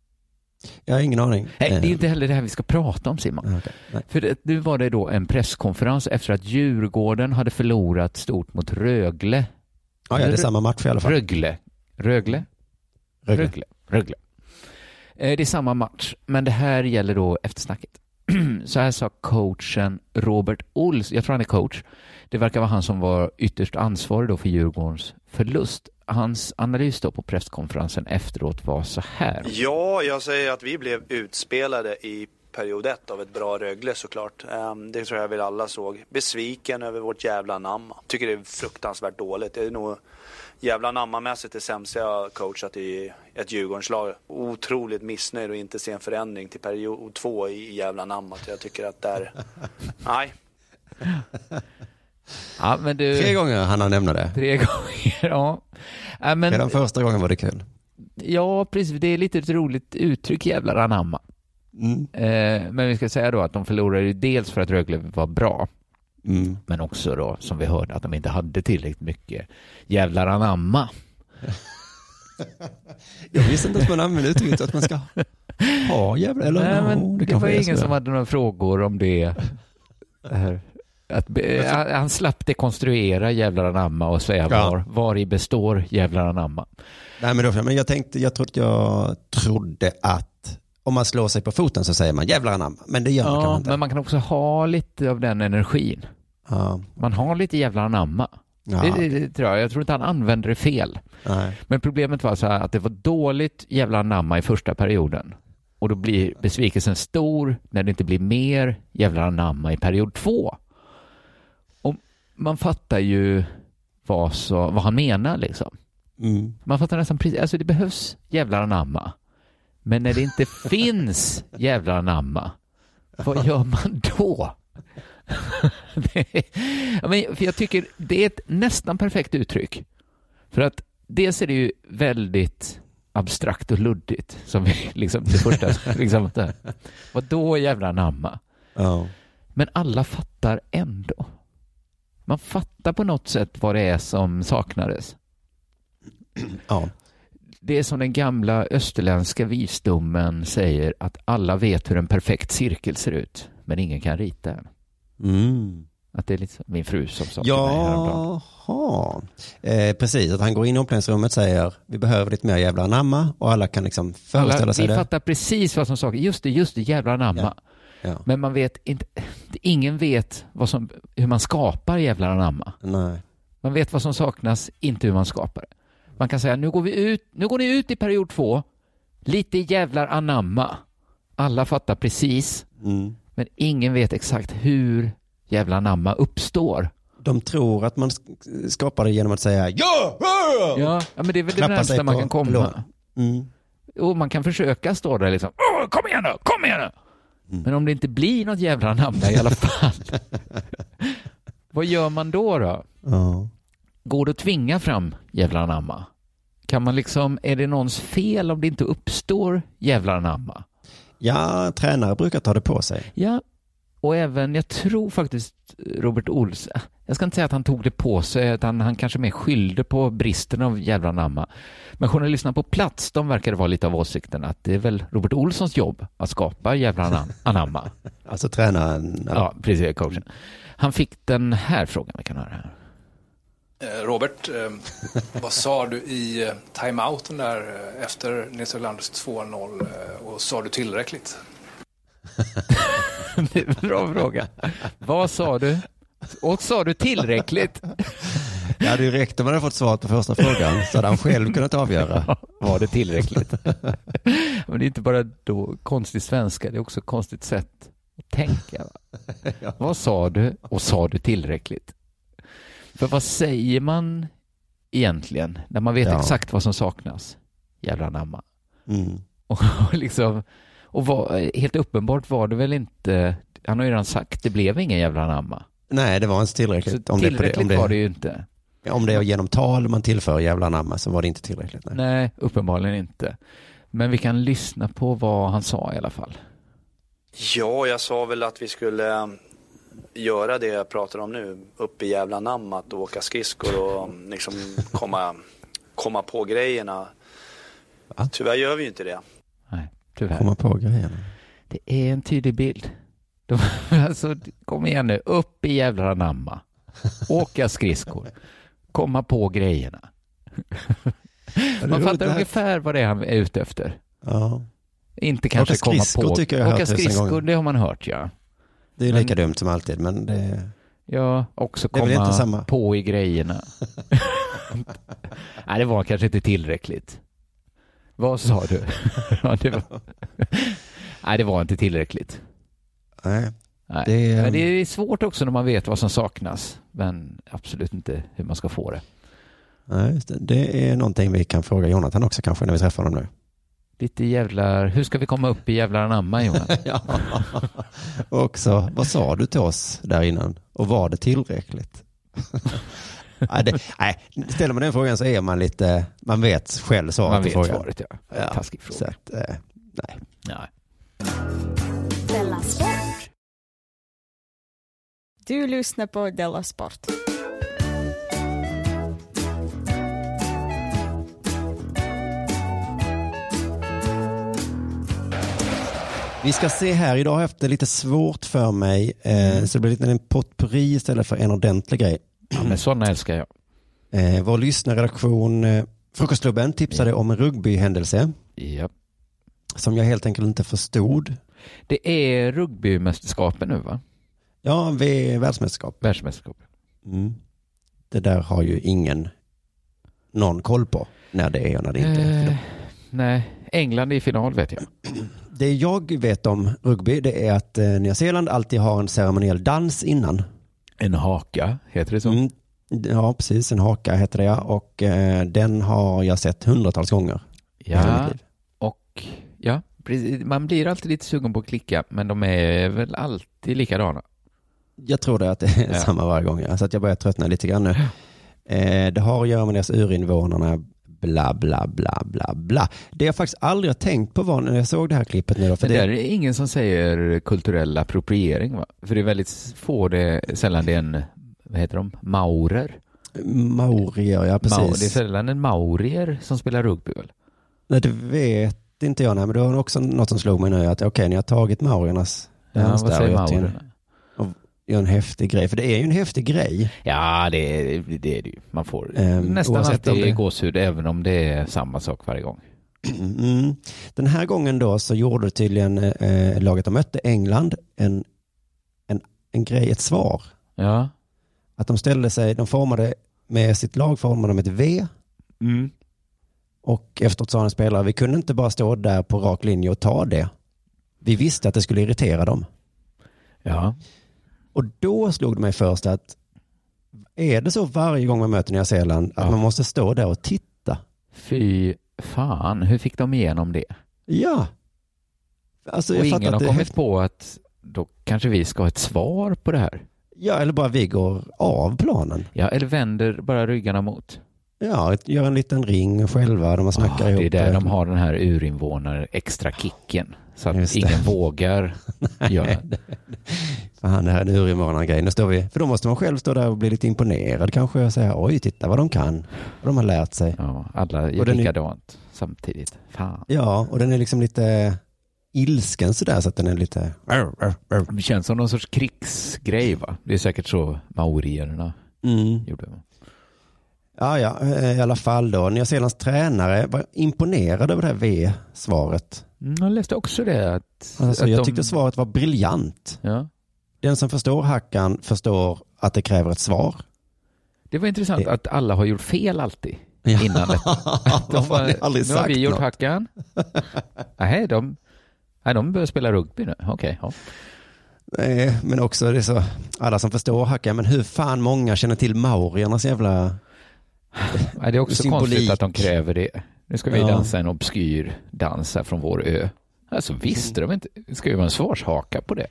S3: [laughs] Jag har ingen aning.
S4: Nej, det är
S3: Eh,
S4: inte heller det här vi ska prata om Simon.
S3: ah, okej. Nej.
S4: För det, nu var det då en presskonferens efter att Djurgården hade förlorat stort mot Rögle.
S3: Ah, ja, det är samma match i alla fall.
S4: Rögle. Rögle?
S3: Rögle.
S4: Rögle. Rögle. Eh, Det är samma match, men det här gäller då eftersnacket. [clears throat] Så här sa coachen Robert Ols, jag tror han är coach. Det verkar vara han som var ytterst ansvarig då för Djurgårdens förlust. Hans analys då på presskonferensen efteråt var så här.
S5: Ja, jag säger att vi blev utspelade i period ett av ett bra Rögle såklart. Ehm, Det tror jag väl alla såg. Besviken över vårt jävla namn. Tycker det är fruktansvärt dåligt. Det är nog jävla namnmässigt det sämsta jag coachat i ett Djurgårdenslag. Otroligt missnöjd och inte se en förändring till period två i jävla namn. Jag tycker att där... Nej,
S4: Ja, men du...
S3: Tre gånger han har nämnt det.
S4: Tre gånger, [laughs] ja. ja men,
S3: Redan första gången var det kul.
S4: ja, precis. Det är lite ett roligt uttryck, jävlar anamma.
S3: Mm.
S4: Eh, men vi ska säga då att de förlorade ju dels för att Rögle var bra,
S3: Mm.
S4: men också då som vi hörde att de inte hade tillräckligt mycket jävlar anamma.
S3: Jag visste inte att man använde uttrycket att man ska ha jävla,
S4: Nej,
S3: eller no,
S4: men det,
S3: kanske
S4: var
S3: är
S4: ingen
S3: så.
S4: som hade några frågor om det. Det här. Att be, han, han slapp dekonstruera jävlar anamma och säga
S3: Ja.
S4: var, var i består jävlar anamma.
S3: Nej, men, då, men jag tänkte, jag trodde, jag trodde att om man slår sig på foten så säger man jävlar anamma, men det gör man kanske
S4: Ja,
S3: inte.
S4: men man kan också ha lite av den energin.
S3: Ja,
S4: Man har lite jävlar anamma.
S3: ja,
S4: Det, det, det tror jag. jag tror inte han använder det fel.
S3: nej.
S4: Men problemet var så här att det var dåligt jävla namma i första perioden. Och då blir besvikelsen stor när det inte blir mer jävla namma i period två. Och man fattar ju vad, så, vad han menar liksom.
S3: Mm.
S4: Man fattar nästan precis, alltså det behövs jävla namma. Men när det inte finns jävla namma, vad gör man då? [laughs] det, är- ja, men, för jag tycker det är ett nästan perfekt uttryck. För att dels är det ju väldigt abstrakt och luddigt, som vi, [laughs] liksom, det första. liksom, där. Vad då jävla namma?
S3: Ja.
S4: Men alla fattar ändå. Man fattar på något sätt vad det är som saknades.
S3: Ja.
S4: Det är som den gamla österländska visdomen säger att alla vet hur en perfekt cirkel ser ut, men ingen kan rita den.
S3: Mm.
S4: Att det är lite så- min fru som sa till mig häromdagen.
S3: Jaha. Eh, precis, att han går in i omklädningsrummet och säger vi behöver lite mer jävla anamma och alla kan liksom föreställa
S4: Alla, vi
S3: sig det.
S4: fattar precis vad som saknas. Just det, just det, jävla namma.
S3: Ja. Ja.
S4: Men man vet inte, ingen vet vad som, hur man skapar jävla namma.
S3: Nej.
S4: Man vet vad som saknas, inte hur man skapar det. Man kan säga, nu går, vi ut, nu går ni ut i period två, lite jävlar anamma. Alla fattar precis,
S3: Mm.
S4: men ingen vet exakt hur jävlar anamma uppstår.
S3: de tror att man sk- skapar det genom att säga ja! ja!"
S4: Ja, ja men det är väl det
S3: Klappa sig
S4: närmsta man
S3: på
S4: kan komma.
S3: låren. Mm.
S4: Och man kan försöka stå där liksom. "Åh, Kom igen nu, kom igen nu.
S3: Mm.
S4: Men om det inte blir något jävla namn där i
S3: [laughs]
S4: alla fall. vad gör man då då?
S3: Ja.
S4: Går det att tvinga fram jävla namma? Kan man liksom, är det någons fel om det inte uppstår jävla namma?
S3: ja, tränare brukar ta det på sig.
S4: Ja, och även, jag tror faktiskt Robert Olsen, jag ska inte säga att han tog det på sig, utan han kanske mer skyllde på bristen av jävla namma. Men journalisterna på plats, de verkade vara lite av åsikten att det är väl Robert Olssons jobb att skapa jävla [laughs] nam- anamma.
S3: Alltså tränaren. Ja.
S4: ja, precis, coachen. Han fick den här frågan, vi kan höra här.
S6: Eh, Robert, eh, vad sa du i eh, timeouten där eh, efter Nils Ölanders 2-0 eh, och sa du tillräckligt?
S4: [laughs] Det är en Bra fråga. Vad sa du? Och sa du tillräckligt?
S3: Det hade ju räckt om man hade fått svaret på första frågan så hade han själv kunnat avgöra.
S4: Var det [laughs] tillräckligt? Men det är inte bara då konstig svenska, det är också konstigt sätt att tänka.
S3: [laughs]
S4: Va? Vad sa du och sa du tillräckligt? För vad säger man egentligen när man vet
S3: Ja.
S4: exakt vad som saknas? Jävla anamma. [laughs]
S3: Mm.
S4: Och, liksom, och vad- helt uppenbart var det väl inte, han har ju redan sagt, det blev ingen jävla anamma.
S3: Nej, det var inte
S4: Så
S3: tillräckligt. Om det, är på
S4: tillräckligt
S3: det, om, det,
S4: var det ju inte.
S3: om det är genom tal man tillför jävla anamma så var det inte tillräckligt. Nej.
S4: Nej, uppenbarligen inte. Men vi kan lyssna på vad han sa i alla fall.
S5: Ja, jag sa väl att vi skulle eh, göra det jag pratar om nu. Upp i jävla namnet och åka skridskor och mm, liksom komma, komma på grejerna.
S3: Va?
S5: Tyvärr gör vi ju inte det.
S4: Nej, tyvärr.
S3: Komma på grejerna.
S4: Det är en tydlig bild. De, [laughs] alltså, kom igen nu, upp i jävla anamma. Åka skridskor. Komma på grejerna. Man fattar ungefär vad det är han är ute efter.
S3: Ja,
S4: Inte kanske
S3: Åka
S4: komma
S3: skridskor
S4: på.
S3: tycker jag jag har
S4: åka
S3: hört tusen
S4: skridskor,
S3: gånger.
S4: det har man hört ja.
S3: det är ju
S4: Men-
S3: lika dumt som alltid men det...
S4: Ja, också
S3: Det är väl inte
S4: komma
S3: samma?
S4: på i
S3: [laughs]
S4: grejerna. Nej, det var kanske inte tillräckligt. Vad sa du? [laughs] ja, det
S3: [laughs]
S4: var... Nej, det var inte tillräckligt.
S3: Nej.
S4: Nej.
S3: Det är-
S4: Men det är svårt också när man vet vad som saknas, men absolut inte hur man ska få det.
S3: Nej, just det. det är någonting vi kan fråga Jonathan också kanske när vi träffar honom nu.
S4: Lite jävlar, hur ska vi komma upp i jävlar anamma Johan?
S3: [laughs] Ja. Också, vad sa du till oss där innan? Och var det tillräckligt? [laughs] nej, det, nej, ställer man den frågan så är man lite, man vet själv svaret
S4: Man
S3: på
S4: vet
S3: frågan.
S4: svaret [laughs] ja.
S3: Ja,
S4: Taskig fråga.
S3: Så att, eh, nej.
S4: Nej.
S2: Della Sport.
S7: Du lyssnar på Della Sport.
S3: Vi ska se här, idag har jag haft det lite svårt för mig, eh, så det blir lite en potpurri istället för en ordentlig grej.
S4: Ja, men sådana älskar jag.
S3: Eh, vår lyssnarredaktion, eh, Frukostklubben, tipsade om en rugbyhändelse
S4: Ja.
S3: som jag helt enkelt inte förstod.
S4: Det är rugbymästerskapen nu va?
S3: Ja, vi är världsmästerskap.
S4: Världsmästerskapen.
S3: Mm. Det där har ju ingen någon koll på när det är och när det inte är.
S4: Eh, nej, England är i final vet jag.
S3: Det jag vet om rugby det är att eh, Nya Zeeland alltid har en ceremoniell dans innan.
S4: En haka, heter det så?
S3: Mm. Ja, precis. En haka heter det ja. Och eh, den har jag sett hundratals gånger i hela mitt
S4: Ja,
S3: liv.
S4: och ja, precis. man blir alltid lite sugen på att klicka, men de är väl alltid likadana.
S3: Jag tror det att det är
S4: Ja.
S3: samma varje gång. Ja. Så att jag börjar tröttna lite grann nu. Eh, det har att göra med deras urinvånarna, bla bla bla bla bla. Det jag faktiskt aldrig har tänkt på var när jag såg det här klippet nu då. För
S4: För det
S3: det,
S4: där är ingen som säger kulturell appropriering va? För det är väldigt få, det, sällan det är en, vad heter de, maurer?
S3: Maurier, ja precis.
S4: Mau- det är sällan en maurier som spelar rugby väl?
S3: Nej, det vet inte jag. Nej, men det var också något som slog mig nu. Att okej, ni har tagit mauriernas
S4: Ja,
S3: dans
S4: vad
S3: där och
S4: säger
S3: gjort till
S4: maurerna?
S3: en, gör en häftig grej. För det är ju en häftig grej.
S4: Ja, det är det, är det ju. Man får
S3: Ehm,
S4: nästan
S3: oavsett
S4: alltid
S3: om det-
S4: gåshud, även om det är samma sak varje gång.
S3: Mm. Den här gången då så gjorde tydligen eh, laget de mötte, England, en, en, en grej, ett svar.
S4: Ja.
S3: Att de ställde sig, de formade, med sitt lag formade de ett V.
S4: Mm.
S3: Och efteråt sa en spelare, vi kunde inte bara stå där på rak linje och ta det. Vi visste att det skulle irritera dem.
S4: Ja.
S3: Och då slog det mig först att Är det så varje gång man möter Nya Zeeland att
S4: Ja.
S3: man måste stå där och titta?
S4: Fy fan, hur fick de igenom det?
S3: Ja. Alltså,
S4: och
S3: jag fattar
S4: ingen har
S3: att det är
S4: kommit på att då kanske vi ska ha ett svar på det här.
S3: Ja, eller bara vi går av planen.
S4: Ja, eller vänder bara ryggarna mot.
S3: Ja, ett- gör en liten ring själva när man snackar
S4: Ah, det är
S3: ihop.
S4: där de har den här urinvånare extra kicken. Så att
S3: Just det.
S4: ingen
S3: [laughs]
S4: vågar göra.
S3: Fan, det här är en urinvånargrej. Nu står vi, för då måste man själv stå där och bli lite imponerad kanske och säga oj, titta vad de kan. Vad de har lärt sig.
S4: Ja, alla
S3: Och
S4: gör
S3: den är-
S4: likadant samtidigt. Fan.
S3: Ja, och den är liksom lite ilsken sådär så att den är lite...
S4: Det känns som någon sorts krigsgrej va? Det är säkert så maorierna
S3: Mm.
S4: gjorde.
S3: Ja, ja, eh, i alla fall då. Nya Zeelands tränare var imponerad över det här V-svaret.
S4: Mm, Jag läste också det. Att,
S3: Alltså,
S4: att
S3: jag
S4: de-
S3: tyckte svaret var briljant.
S4: Ja.
S3: Den som förstår hackan förstår att det kräver
S4: [laughs]
S3: ett svar.
S4: Det var intressant
S3: Det-
S4: att alla har gjort fel alltid
S3: Ja.
S4: innan
S3: [laughs]
S4: detta.
S3: De har ni aldrig
S4: nu har
S3: sagt
S4: vi gjort
S3: något. [laughs]
S4: hackan. Nej, de, nej, de börjar spela rugby nu. Okej, ja.
S3: Nej, Eh, men också det är så, alla som förstår hackan, men hur fan många känner till maoriernas jävla...
S4: Nej, det är också
S3: Symbolik.
S4: konstigt att de kräver det. Nu ska vi
S3: Ja.
S4: dansa en obskyr dans här från vår ö. Alltså visste de inte? Det Ska ju vara en svarshaka
S3: [laughs]
S4: på det.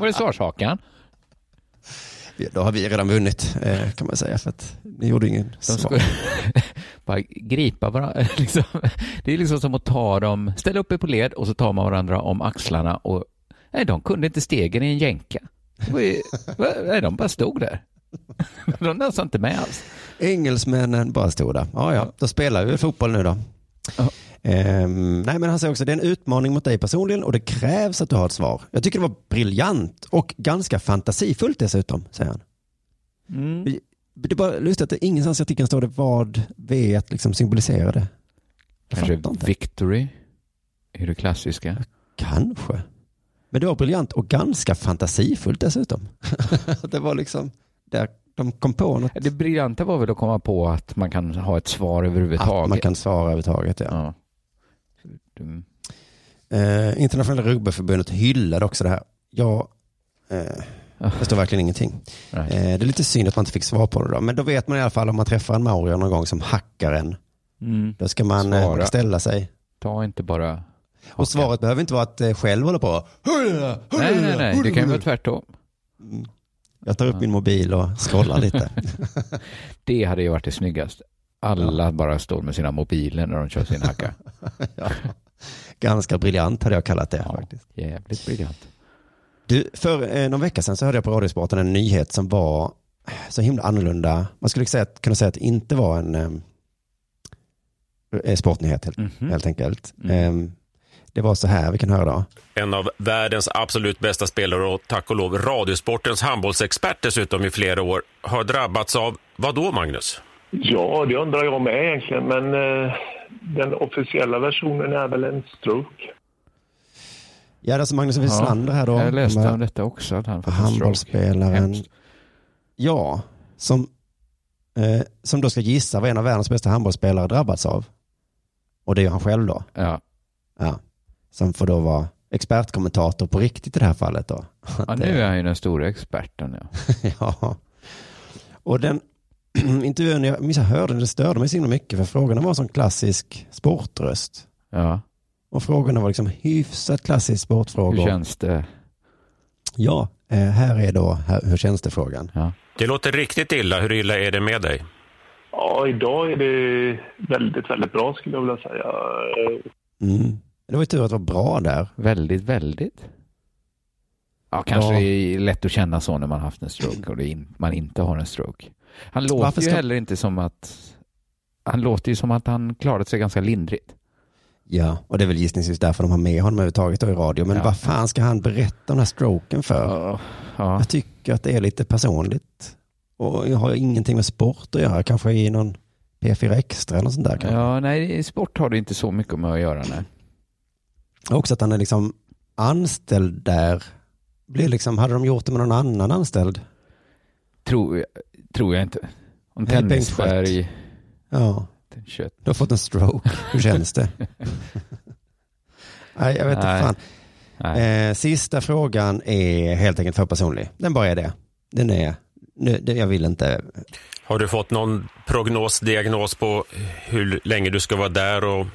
S4: Var det svarshakan?
S3: Då har vi redan vunnit, eh, kan man säga, för att ni gjorde ingen
S4: De
S3: svar.
S4: skulle [laughs] bara gripa varandra. [laughs] Liksom. Det är liksom som att ta dem, ställa upp er på led och så tar man varandra om axlarna och nej, de kunde inte stegen i en jänka. Det var ju- va- Nej, de bara stod där. [laughs] De dansade inte med alls.
S3: Engelsmännen bara stod där. Ja, ja, då spelar vi fotboll nu då.
S4: Ja.
S3: Ehm, nej, men han säger också det är en utmaning mot dig personligen och det krävs att du har ett svar. Jag tycker det var briljant och ganska fantasifullt dessutom, säger han.
S4: Mm.
S3: Det är bara lustigt att det är ingenstans i artikeln står det vad V liksom symboliserade. Jag
S4: Kanske
S3: fattar inte.
S4: victory är det klassiska.
S3: Kanske. Men det var briljant och ganska fantasifullt dessutom. [laughs] det var liksom där de kom på något.
S4: Det briljanta var väl att komma på att man kan ha ett svar överhuvudtaget.
S3: Att man kan svara överhuvudtaget. Ja.
S4: ja. Mm.
S3: Eh, Internationella rugbyförbundet hyllade också det här. Jag eh, förstår verkligen ingenting. Eh,
S4: Nej.
S3: det är lite synd att man inte fick svar på det då. Men då vet man i alla fall om man träffar en maorier någon gång som hackar en.
S4: Mm.
S3: Då ska man eh,
S4: Svara.
S3: ställa sig.
S4: Ta inte bara...
S3: Och svaret behöver inte vara att eh, själv hålla på.
S4: Nej, nej, nej. Det kan ju vara tvärtom.
S3: Jag tar upp min mobil och
S4: [laughs]
S3: scrollar lite.
S4: Det hade ju varit det snyggaste. Alla bara står med sina mobiler när de kör sin
S3: [laughs]
S4: hacka.
S3: ja. Ganska briljant hade jag kallat det.
S4: Ja.
S3: Faktiskt.
S4: Jävligt briljant.
S3: Du, för eh, någon vecka sedan så hörde jag på Radiosporten en nyhet som var eh, så himla annorlunda. Man skulle säga, kunna säga att det inte var en ehm, eh, sportnyhet helt,
S4: Mhm.
S3: helt enkelt.
S4: Mm.
S3: Eh, det var så här, vi kan höra då.
S8: En av världens absolut bästa spelare och tack och lov Radiosportens handbollsexpert dessutom i flera år har drabbats av, vad då Magnus?
S9: Ja, det undrar jag med egentligen, men eh, den officiella versionen är väl en stroke.
S3: Ja, det är alltså Magnus Wislander här då.
S4: Jag
S3: De
S4: läste
S3: här
S4: om detta också. Att han fått en stroke.
S3: Handbollsspelaren.
S4: Hemskt.
S3: Ja, som, eh, som då ska gissa vad en av världens bästa handbollsspelare drabbats av. Och det är ju han själv då.
S4: Ja.
S3: Ja. Som får då vara expertkommentator på riktigt i det här fallet då.
S4: ja, nu är han ju den stora experten. Ja.
S3: [laughs] Ja. Och den [clears throat] intervjun, jag minns jag hörde den, det störde mig så himla mycket för frågorna var som klassisk sportröst.
S4: Ja.
S3: Och frågorna var liksom hyfsat klassisk
S4: Hur
S3: sportfrågor.
S4: känns det?
S3: Ja, eh, här är då här, hur känns det frågan.
S4: Ja.
S8: Det låter riktigt illa, hur illa är det med dig?
S9: Ja, idag är det väldigt, väldigt bra skulle jag vilja säga. Eh,
S3: Mm. Det var ju tur att det var bra där.
S4: Väldigt, väldigt. Ja, kanske
S3: Ja.
S4: det är lätt att känna så när man haft en stroke och det in, man inte har en stroke. Han
S3: Varför
S4: låter ju
S3: ska-
S4: heller inte som att... Han låter ju som att han klarat sig ganska lindrigt.
S3: Ja, och det är väl gissningsvis därför de har med honom överhuvudtaget då i radio. Men
S4: Ja.
S3: vad fan ska han berätta om den här stroken för?
S4: Ja. Ja.
S3: Jag tycker att det är lite personligt. Och jag har ingenting med sport att göra. Kanske i någon P4 Extra eller något sånt där. Kanske.
S4: ja, nej, i sport har det inte så mycket med att göra. Nej.
S3: Och Också att han är liksom anställd där. Blir liksom, hade de gjort det med någon annan anställd?
S4: Tror, tror jag inte. Om
S3: Nej, Bengt
S4: Tennisberg...
S3: Ja,
S4: Kött.
S3: du har fått en stroke. Hur känns det? [laughs] Nej, jag vet inte
S4: Nej.
S3: fan.
S4: Nej.
S3: Eh, sista frågan är helt enkelt för personlig. Den bara är det. Den är, Nu, det, jag vill inte.
S8: Har du fått någon prognos, diagnos på hur länge du ska vara där och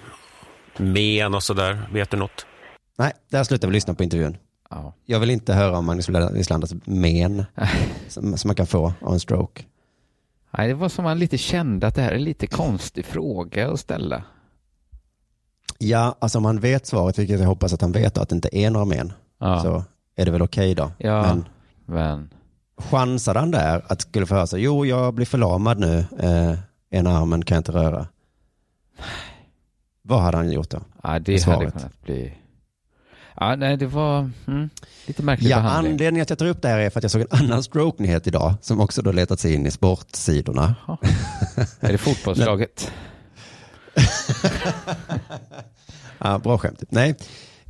S8: men och sådär? Vet du något?
S3: Nej, där slutar vi lyssna på intervjun.
S4: Ja.
S3: Jag vill inte höra om Magnus Wielanders [laughs] men som, som man kan få av en stroke.
S4: Nej, det var som man lite kände att det här är en lite konstig fråga att ställa.
S3: Ja, alltså om han vet svaret, vilket jag hoppas att han vet och att det inte är några men,
S4: Ja.
S3: så är det väl okej då.
S4: Ja,
S3: Men
S4: men. men.
S3: chansade han där att skulle få höra sig, jo jag blir förlamad nu, eh, ena armen kan jag inte röra. Vad hade han gjort då?
S4: Ja,
S3: I
S4: det hade
S3: svaret.
S4: kunnat bli... Ja, nej, det var mm, lite märklig
S3: Ja,
S4: behandling.
S3: anledningen att jag tar upp det här är för att jag såg en annan stroke-nyhet idag som också då letat sig in i sportsidorna. [laughs]
S4: Är det fotbollslaget? [laughs]
S3: Ja, bra skämt. Nej,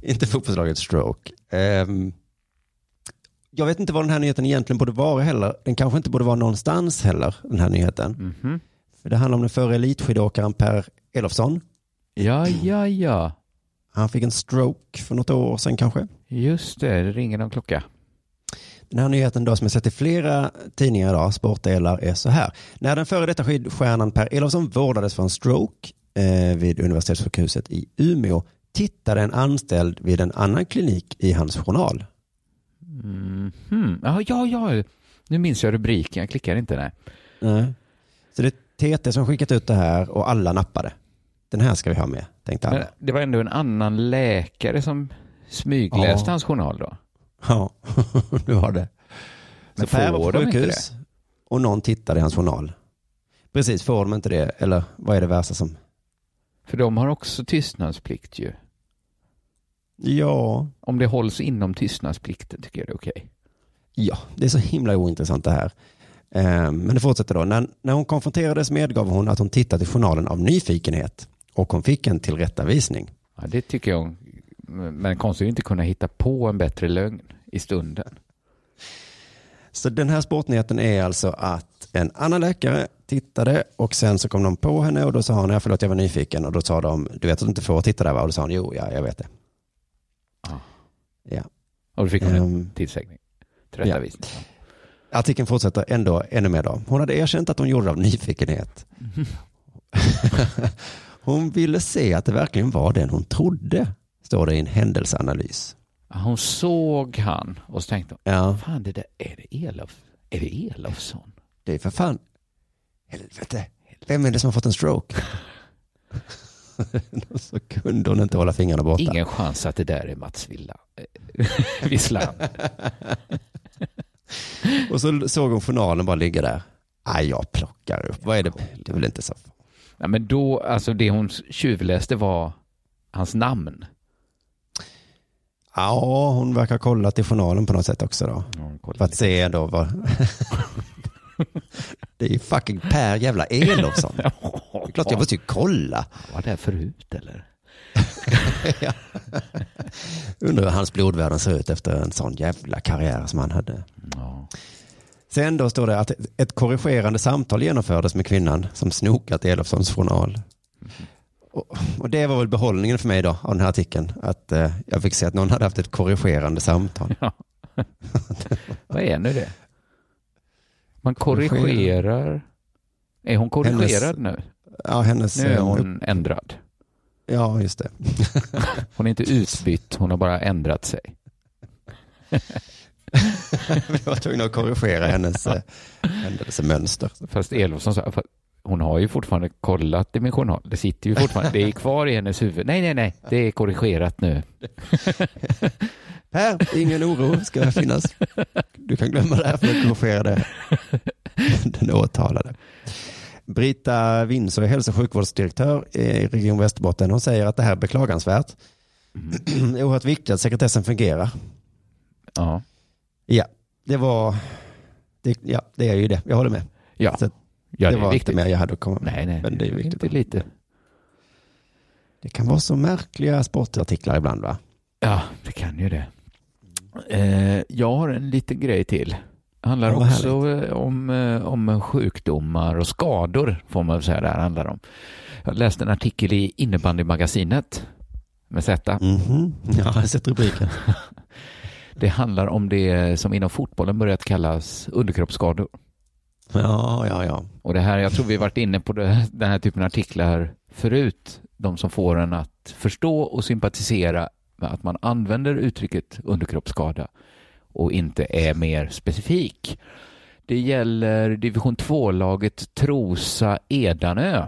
S3: inte fotbollslaget Stroke. Ehm, jag vet inte vad den här nyheten egentligen borde vara heller. Den kanske inte borde vara någonstans heller, den här nyheten.
S4: Mhm.
S3: För det handlar om den förre elitskidåkaren Per Elofsson.
S4: Ja, ja, ja.
S3: Han fick en stroke för något år sedan kanske.
S4: Just det, det ringer någon klocka.
S3: Den här nyheten då som jag sett i flera tidningar idag, sportdelar, är så här. När den före detta skidstjärnan Per Elofsson vårdades för en stroke eh, vid universitetssjukhuset i Umeå tittade en anställd vid en annan klinik i hans journal.
S4: Hmm. Ja, ja, ja. Nu minns jag rubriken, jag klickar inte. Nej.
S3: Nej. Så det är TT som skickat ut det här och alla nappade. Den här ska vi ha med, tänkte alla.
S4: Men det var ändå en annan läkare som smygläste
S3: Ja.
S4: hans journal då.
S3: [laughs] Ja, [laughs] du har det. Så
S4: Men
S3: Per var
S4: får
S3: på
S4: de inte
S3: sjukhus och någon tittade i hans journal. Precis, får de inte det? Eller vad är det värsta som...
S4: För de har också tystnadsplikt ju.
S3: Ja,
S4: Om det hålls inom tystnadsplikten tycker jag det är okej.
S3: ja det är så himla ointressant det här. Ehm, Men det fortsätter då. När, när hon konfronterades medgav hon att hon tittat i journalen av nyfikenhet och hon fick en tillrättavisning.
S4: Ja, det tycker jag. Men konstigt att inte kunna hitta på en bättre lögn i stunden.
S3: Så den här sportnyheten är alltså att en annan läkare tittade och sen så kom de på henne och då sa hon, ja förlåt jag var nyfiken och då sa de, du vet att du inte får titta där va? Och då sa hon, jo ja jag vet det.
S4: Ah.
S3: Ja.
S4: Och då fick hon
S3: Ehm.
S4: en tillsägning. Tillrättavisning.
S3: Artikeln fortsätter ändå ännu mer då. Hon hade erkänt att hon gjorde det av nyfikenhet. hon ville se att det verkligen var den hon trodde, står det i en händelseanalys.
S4: Ja, Hon såg han och så tänkte hon,
S3: Ja,
S4: fan det där, är det Elof? Är det Elofsson?
S3: det är för fan, helvete, vem är det som har fått en stroke? [laughs] så kunde hon inte hålla fingrarna borta.
S4: Ingen chans att det där är Mats Villa. Eh, [laughs] Visslan.
S3: Och så såg hon journalen bara ligga där. Nej, jag plockar upp. Vad är det? Det är väl inte så.
S4: Ja, men då, alltså det hon tjuvläste var hans namn.
S3: Ja, hon verkar ha kollat i journalen på något sätt också då.
S4: [laughs]
S3: För att se då vad... [laughs] det är ju fucking Per jävla Elofsson. Det är klart jag måste ju kolla.
S4: Var det här förut eller?
S3: Undrar hur hans blodvärden ser ut efter en sån jävla karriär som han hade.
S4: Ja.
S3: Sen då står det att ett korrigerande samtal genomfördes med kvinnan som snokat i Elofssons journal. Och, och det var väl behållningen för mig då av den här artikeln. Att eh, jag fick se att någon hade haft ett korrigerande samtal.
S4: Vad är nu det? Man korrigerar. Är hon korrigerad nu?
S3: Ja, hennes...
S4: Nu är
S3: eh,
S4: hon ändrad.
S3: Ja, just det. [laughs]
S4: Hon är inte utbytt, hon har bara ändrat sig.
S3: Vi var tvungna att korrigera hennes eh, händelsemönster.
S4: Fast Elofsson sa, "Fast hon har ju fortfarande kollat i min journal. Det sitter ju fortfarande, det är kvar i hennes huvud. Nej, nej, nej, det är korrigerat nu.
S3: Per, ingen oro ska finnas. Du kan glömma det här för jag korrigerade den åtalade. Brita Windsor är hälso och sjukvårdsdirektör i Region Västerbotten. Hon säger att det här är beklagansvärt. Det är oerhört viktigt att sekretessen fungerar.
S4: Ja.
S3: Ja, det var... Det, ja, det är ju det. Jag håller med.
S4: Ja,
S3: Så att
S4: ja
S3: det,
S4: det, är
S3: var
S4: viktigt.
S3: inte mer jag hade att komma med.
S4: Nej, nej,
S3: Men det är viktigt.
S4: inte lite.
S3: Det kan vara så märkliga sportartiklar ibland va?
S4: Ja, det kan ju det. Eh, jag har en liten grej till. Handlar
S3: Ja, vad
S4: också eh, om, eh, om sjukdomar och skador, får man väl säga det här handlar om. Jag läste en artikel i innebandymagasinet med Z.
S3: Mhm. Ja, jag har sett rubriken.
S4: Det handlar om det som inom fotbollen börjat kallas underkroppsskador.
S3: Ja, ja, ja.
S4: Och det här, jag tror vi varit inne på det, den här typen av artiklar förut. De som får en att förstå och sympatisera med att man använder uttrycket underkroppsskada och inte är mer specifik. Det gäller division 2-laget Trosa Edanö.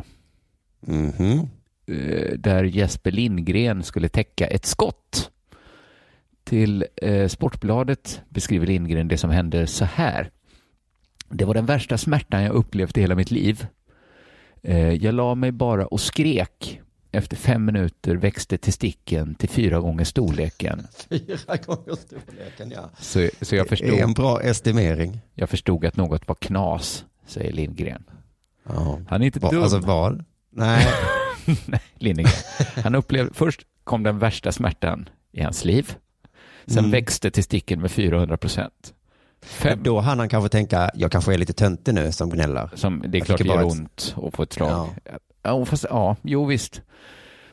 S3: Mhm.
S4: eh, Där Jesper Lindgren skulle täcka ett skott. Till eh, Sportbladet beskriver Lindgren det som hände så här. Det var den värsta smärtan jag upplevt i hela mitt liv. Eh, Jag la mig bara och skrek. Efter fem minuter växte testikeln till fyra gånger storleken.
S3: Fyra gånger storleken, ja.
S4: Så, så jag,
S3: Det är en
S4: förstod,
S3: bra estimering.
S4: jag förstod att något var knas, säger Lindgren.
S3: Ja.
S4: Han är inte
S3: Va,
S4: dum.
S3: alltså val? Nej.
S4: Nej, Lindgren. Han upplevde, först kom den värsta smärtan i hans liv. Sen
S3: Mm.
S4: växte testikeln med 400 procent. Fem,
S3: Då hann han kanske tänka, jag kanske är lite töntig nu som gnäller.
S4: som det är
S3: Jag
S4: klart det
S3: tycker
S4: gör
S3: bara att-
S4: ont att få ett slag. Ja. fast, ja, jo visst.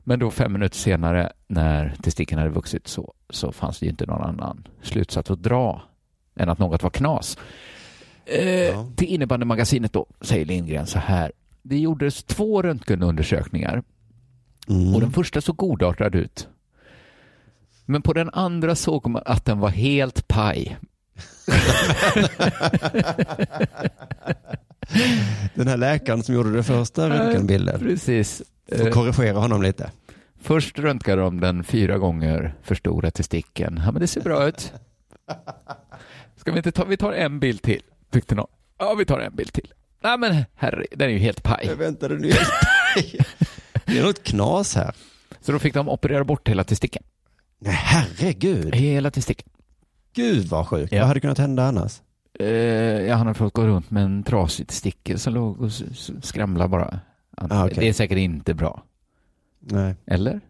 S4: Men då fem minuter senare när testikeln hade vuxit så, så fanns det ju inte någon annan slutsats att dra än att något var knas. Eh,
S3: Ja.
S4: Till innebandymagasinet då, säger Lindgren så här. Det gjordes två röntgenundersökningar
S3: Mm.
S4: och den första såg godartad ut. Men på den andra såg man att den var helt paj.
S3: [laughs] Den här läkaren som gjorde den första röntgenbilden.
S4: Precis.
S3: Får
S4: Eh,
S3: korrigera honom lite.
S4: Först röntgade de den fyra gånger för stora testikeln. Ja, men det ser bra ut. Ska vi inte ta, vi tar en bild till, tyckte någon. Ja, vi tar en bild till. Nej, men herre, den är ju helt paj.
S3: Jag väntade nu. [laughs] det är något knas här.
S4: Så då fick de operera bort hela testikeln.
S3: Nej, herregud.
S4: Hela testikeln.
S3: Gud vad sjukt.
S4: Ja.
S3: Vad hade kunnat hända annars?
S4: Eh, ja, han har fått gå runt med en trasig testikel som låg och s- s- skramlade bara.
S3: Ah, okej.
S4: Det är säkert inte bra.
S3: Nej.
S4: Eller?
S3: Nej,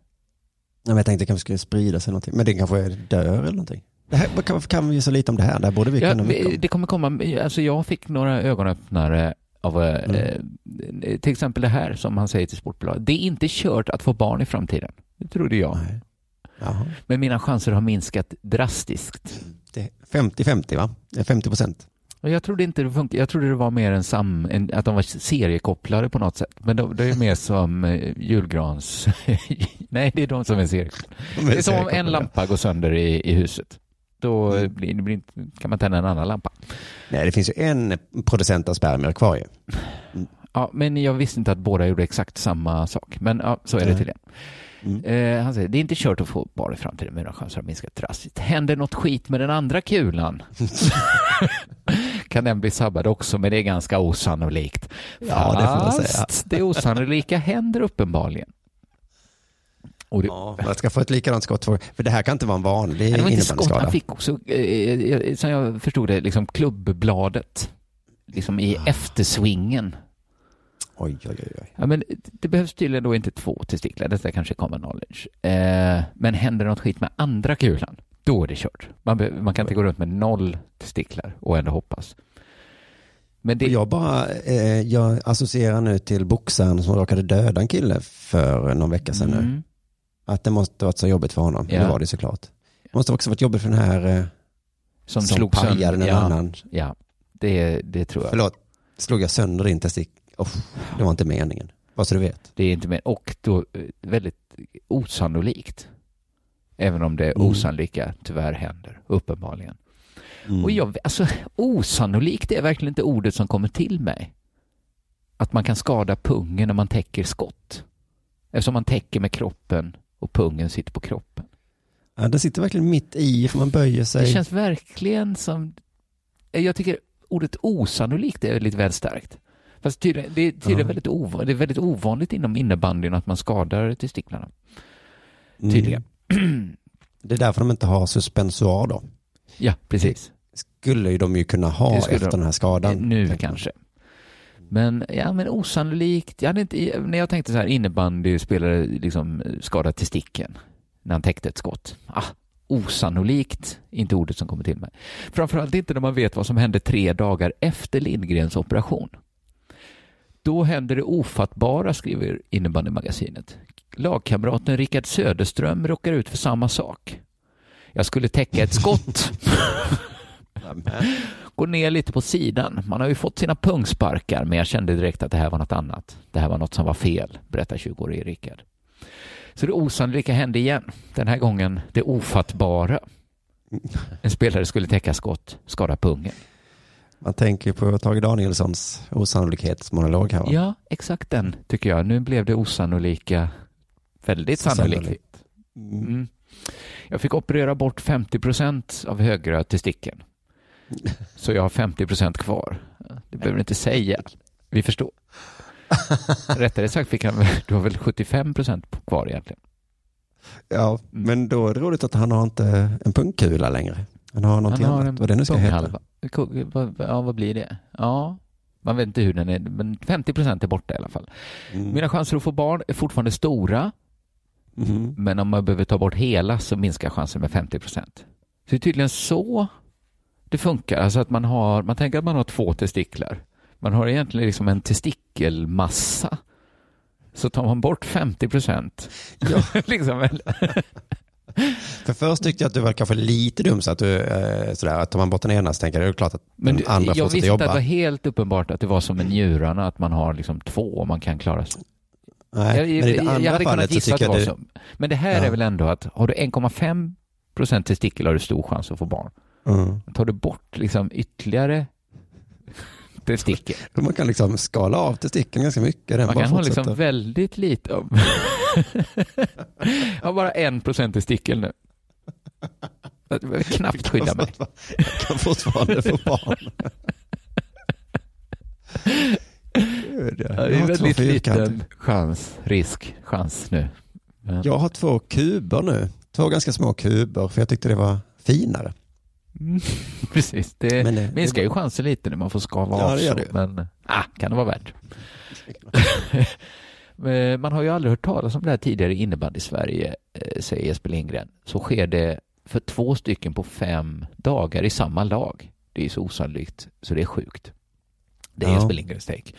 S3: men jag tänkte det kanske skulle sprida sig någonting. Men det kanske är dör eller någonting. Det här, vad kan, varför kan vi ju så lite om det här? Det här borde vi
S4: Ja,
S3: kunna mycket
S4: vi-
S3: om.
S4: det kommer komma, alltså jag fick några ögonöppnare av eh, eh, till exempel det här som han säger till Sportbladet. Det är inte kört att få barn i framtiden. Det trodde jag.
S3: Nej. Jaha.
S4: Men mina chanser har minskat drastiskt.
S3: Det är 50-50 va? Det är 50 procent.
S4: Och jag trodde inte det funkade. Jag trodde det var mer en sam, en, att de var seriekopplade på något sätt. Men de, det är mer som eh, julgrans... [laughs] Nej, det är de som är seriekopplade. Det är som om en lampa går sönder i, i huset. Då eh, blir, det blir inte, kan man tända en annan lampa.
S3: Nej, det finns ju en producent av spermier kvar ju.
S4: Ja, men jag visste inte att båda gjorde exakt samma sak. Men ja, så är det
S3: Nej.
S4: tydligen.
S3: Mm.
S4: Eh, han säger, det är inte kört att få bara i framtiden, men chanser har minskat drastiskt. Händer något skit med den andra
S3: [laughs]
S4: kulan? kan den bli sabbad också, men det är ganska osannolikt.
S3: Ja, det får man säga.
S4: Fast det osannolika händer uppenbarligen. Och det,
S3: Ja, man ska få ett likadant skott. För, för det här kan inte vara en vanlig
S4: det var inte skott,
S3: innebandyskada.
S4: han fick också, eh, eh, som jag förstod det, liksom klubbbladet. Liksom i
S3: Ah.
S4: eftersvingen.
S3: Oj, oj, oj. oj.
S4: Ja, men det behövs tydligen då inte två testiklar, detta kanske är common knowledge. Eh, men händer något skit med andra kulan, då är det kört. Man, be- man kan inte gå runt med noll testiklar och ändå hoppas. Men det,
S3: Och Jag bara, eh, jag associerar nu till boxaren som råkade döda en kille för någon vecka sedan nu.
S4: Mm.
S3: Att det måste varit så jobbigt för honom.
S4: Ja.
S3: Det var det såklart. Det måste också varit jobbigt för den här eh,
S4: som,
S3: som
S4: slog sönder.
S3: pajade en
S4: ja,
S3: annan.
S4: Ja, det, det tror jag.
S3: Förlåt, slog jag sönder din testik? Oh, det var inte meningen. Bara så du vet.
S4: Det är inte mer. Och då eh, väldigt osannolikt. Även om det
S3: Mm.
S4: osannolika tyvärr händer, uppenbarligen.
S3: Mm.
S4: Och jag, alltså, osannolikt är verkligen inte ordet som kommer till mig. Att man kan skada pungen när man täcker skott. Eftersom man täcker med kroppen och pungen sitter på kroppen.
S3: Ja, den sitter verkligen mitt i, för man böjer sig.
S4: Det känns verkligen som... Jag tycker ordet osannolikt är lite väl starkt. Fast tydligen, det, är tydligen
S3: Ja.
S4: väldigt ovanligt, det är väldigt ovanligt inom innebandyn att man skadar testiklarna.
S3: Mm.
S4: tydligen.
S3: Det är därför de inte har suspensoar då.
S4: [clears throat] Ja, precis.
S3: Skulle ju de ju kunna ha
S4: Det skulle
S3: efter
S4: de.
S3: den här skadan.
S4: Nu
S3: tänker jag.
S4: kanske. Men, ja, men osannolikt. Jag hade inte, när jag tänkte så här, innebandy spelare liksom skadad testikeln när han täckte ett skott. Ah, osannolikt, inte ordet som kommer till mig. Framförallt inte när man vet vad som hände tre dagar efter Lindgrens operation. Då händer det ofattbara, skriver innebandymagasinet. Lagkamraten Rickard Söderström råkar ut för samma sak. Jag skulle täcka ett skott.
S3: Nämen.
S4: går ner lite på sidan. Man har ju fått sina pungsparkar, men jag kände direkt att det här var något annat. Det här var något som var fel, berättar 20-årige Rickard. Så det osannolika hände igen. Den här gången det ofattbara. En spelare skulle täcka skott, skada pungen.
S3: Man tänker på Tage Danielssons osannolikhetsmonolog här va?
S4: Ja, exakt den tycker jag. Nu blev det osannolika väldigt sannolikt. Mm. Jag fick operera bort 50 procent av högra testikeln. Så jag har 50 procent kvar. Det behöver du inte säga. Vi förstår.
S3: [laughs]
S4: Rättare sagt fick han, du har väl 75 procent kvar egentligen.
S3: [laughs] Ja, men då är det roligt att han har inte en pungkula längre. Han har någonting han har annat, vad det nu ska heta.
S4: Ja, vad blir det? Ja, man vet inte hur den är, men 50 procent är borta i alla fall. Mm. Mina chanser att få barn är fortfarande stora, mm. men om man behöver ta bort hela så minskar chansen med 50 procent. Så det är tydligen så det funkar, alltså att man har, man tänker att man har två testiklar. Man har egentligen liksom en testikelmassa. Så tar man bort 50 procent. Ja. [laughs] liksom,
S3: För först tyckte jag att du var kanske lite dum, så att du, eh, sådär, att tar man bort den ena så tänker jag det är klart att den du, andra
S4: jag
S3: fortsätter
S4: jobba. Jag visste var
S3: att det
S4: helt uppenbart att det var som med njurarna, att man har liksom två och man kan klara sig.
S3: Nej,
S4: jag,
S3: men i det
S4: jag
S3: andra
S4: hade kunnat
S3: fallet så
S4: gissa att
S3: tycker
S4: det
S3: jag
S4: var
S3: du,
S4: så. Men det här
S3: Ja.
S4: är väl ändå att har du 1,5 procent testikel har du stor chans att få barn.
S3: mm.
S4: Tar du bort liksom ytterligare testikel,
S3: Man kan liksom skala av testikeln ganska mycket.
S4: man
S3: Den bara
S4: kan ha
S3: fortsätter.
S4: liksom väldigt lite om... jag har bara 1 procent testikel nu. Jag behöver knappt skydda mig.
S3: [laughs] Jag kan fortfarande få barn. Gud, ja.
S4: Ja, det
S3: Jag
S4: är
S3: har två
S4: väldigt
S3: fyrkanter.
S4: liten chans, risk, chans nu. [laughs] Men,
S3: Jag har två kuber nu. Två ganska små kuber, för jag tyckte det var finare.
S4: precis, Eh, det
S3: Men eh, det-
S4: minskar ju chansen lite när man får skava
S3: Ja,
S4: av
S3: det gör
S4: så,
S3: det ju.
S4: men ah, kan det vara värt. Men Eh, man har ju aldrig hört talas om det här tidigare i innebandy i Sverige, eh, säger Jesper Lindgren. Så sker det för två stycken på fem dagar i samma lag. Det är så osannolikt så det är sjukt. Det är
S3: Ja.
S4: Jesper Lindgrens take.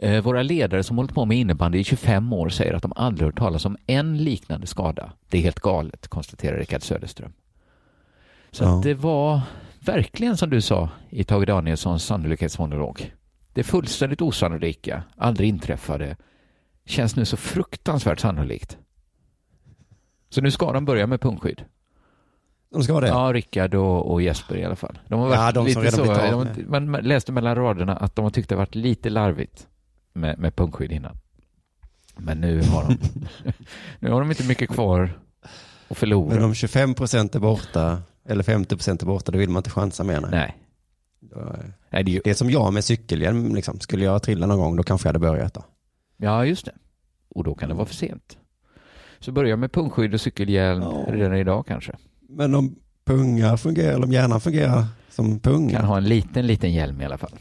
S4: Eh, Våra ledare som hållit på med innebandy i 25 år säger att de aldrig hört talas om en liknande skada. Det är helt galet, konstaterar Rickard Söderström. Så
S3: Ja.
S4: att det var verkligen som du sa i Tage Danielssons sannolikhetsmonolog. Det fullständigt osannolika, aldrig inträffade, känns nu så fruktansvärt sannolikt. Så nu ska de börja med pungskydd.
S3: De ska ha det?
S4: Ja, Rickard och, och Jesper i alla fall. De har
S3: Ja,
S4: varit
S3: de som
S4: lite
S3: redan
S4: så,
S3: blivit av
S4: de, har
S3: med.
S4: inte- Man man läste mellan raderna att de har tyckt det varit lite larvigt med, med pungskydd innan. Men nu har de,
S3: [laughs]
S4: nu har de inte mycket kvar att förlora.
S3: Men om 25 procent är borta, eller 50 procent är borta, då vill man inte chansa mer. Nej. eh,
S4: Nej. Nej, det är ju...
S3: Det är som jag med cykelhjälm, liksom. skulle jag trilla någon gång, då kanske jag hade börjat. Då.
S4: Ja, just det. Och då kan det vara för sent. Så börja med pungskydd och cykelhjälm
S3: Ja.
S4: redan idag kanske.
S3: Men om pungar fungerar, eller om hjärnan fungerar som punga,
S4: Kan ha en liten, liten hjälm i alla
S3: [laughs]
S4: fall.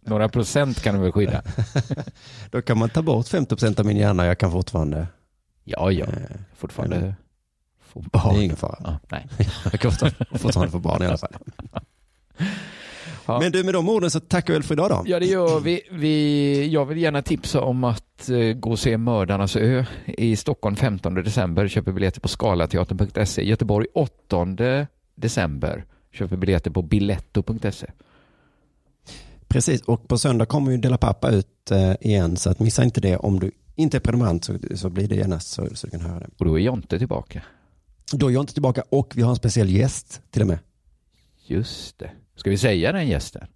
S4: Några procent kan du väl skydda?
S3: då kan man ta bort 50 procent av min hjärna, jag kan fortfarande...
S4: Ja, ja.
S3: Eh,
S4: Fortfarande få
S3: det är
S4: barn.
S3: ingen fara.
S4: Ja, nej.
S3: Jag kan fortfarande- fortfarande få barn i alla fall.
S4: Ja.
S3: Men du, med de orden så tackar vi väl för idag då.
S4: Ja, det gör vi. vi. Jag vill gärna tipsa om att eh, gå och se Mördarnas ö i Stockholm 15 december. Köper biljetter på skalateatern.se. Göteborg 8 december. Köper biljetter på biletto.se.
S3: Precis, och på söndag kommer ju Dela Pappa ut eh, igen, så att missa inte det. Om du inte är prenumerant så, så blir det genast så, så du kan höra det.
S4: Och då är Jonte tillbaka.
S3: Då är jag inte tillbaka och vi har en speciell gäst till och med.
S4: Just det. Ska vi säga den gästen?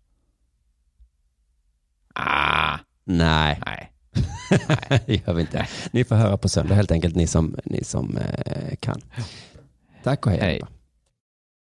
S4: Ah,
S3: Nej, [laughs]
S4: nej.
S3: det gör vi inte. Ni får höra på söndag helt enkelt, ni som, ni som eh, kan. Tack och hej.
S4: Hej.
S3: allihopa.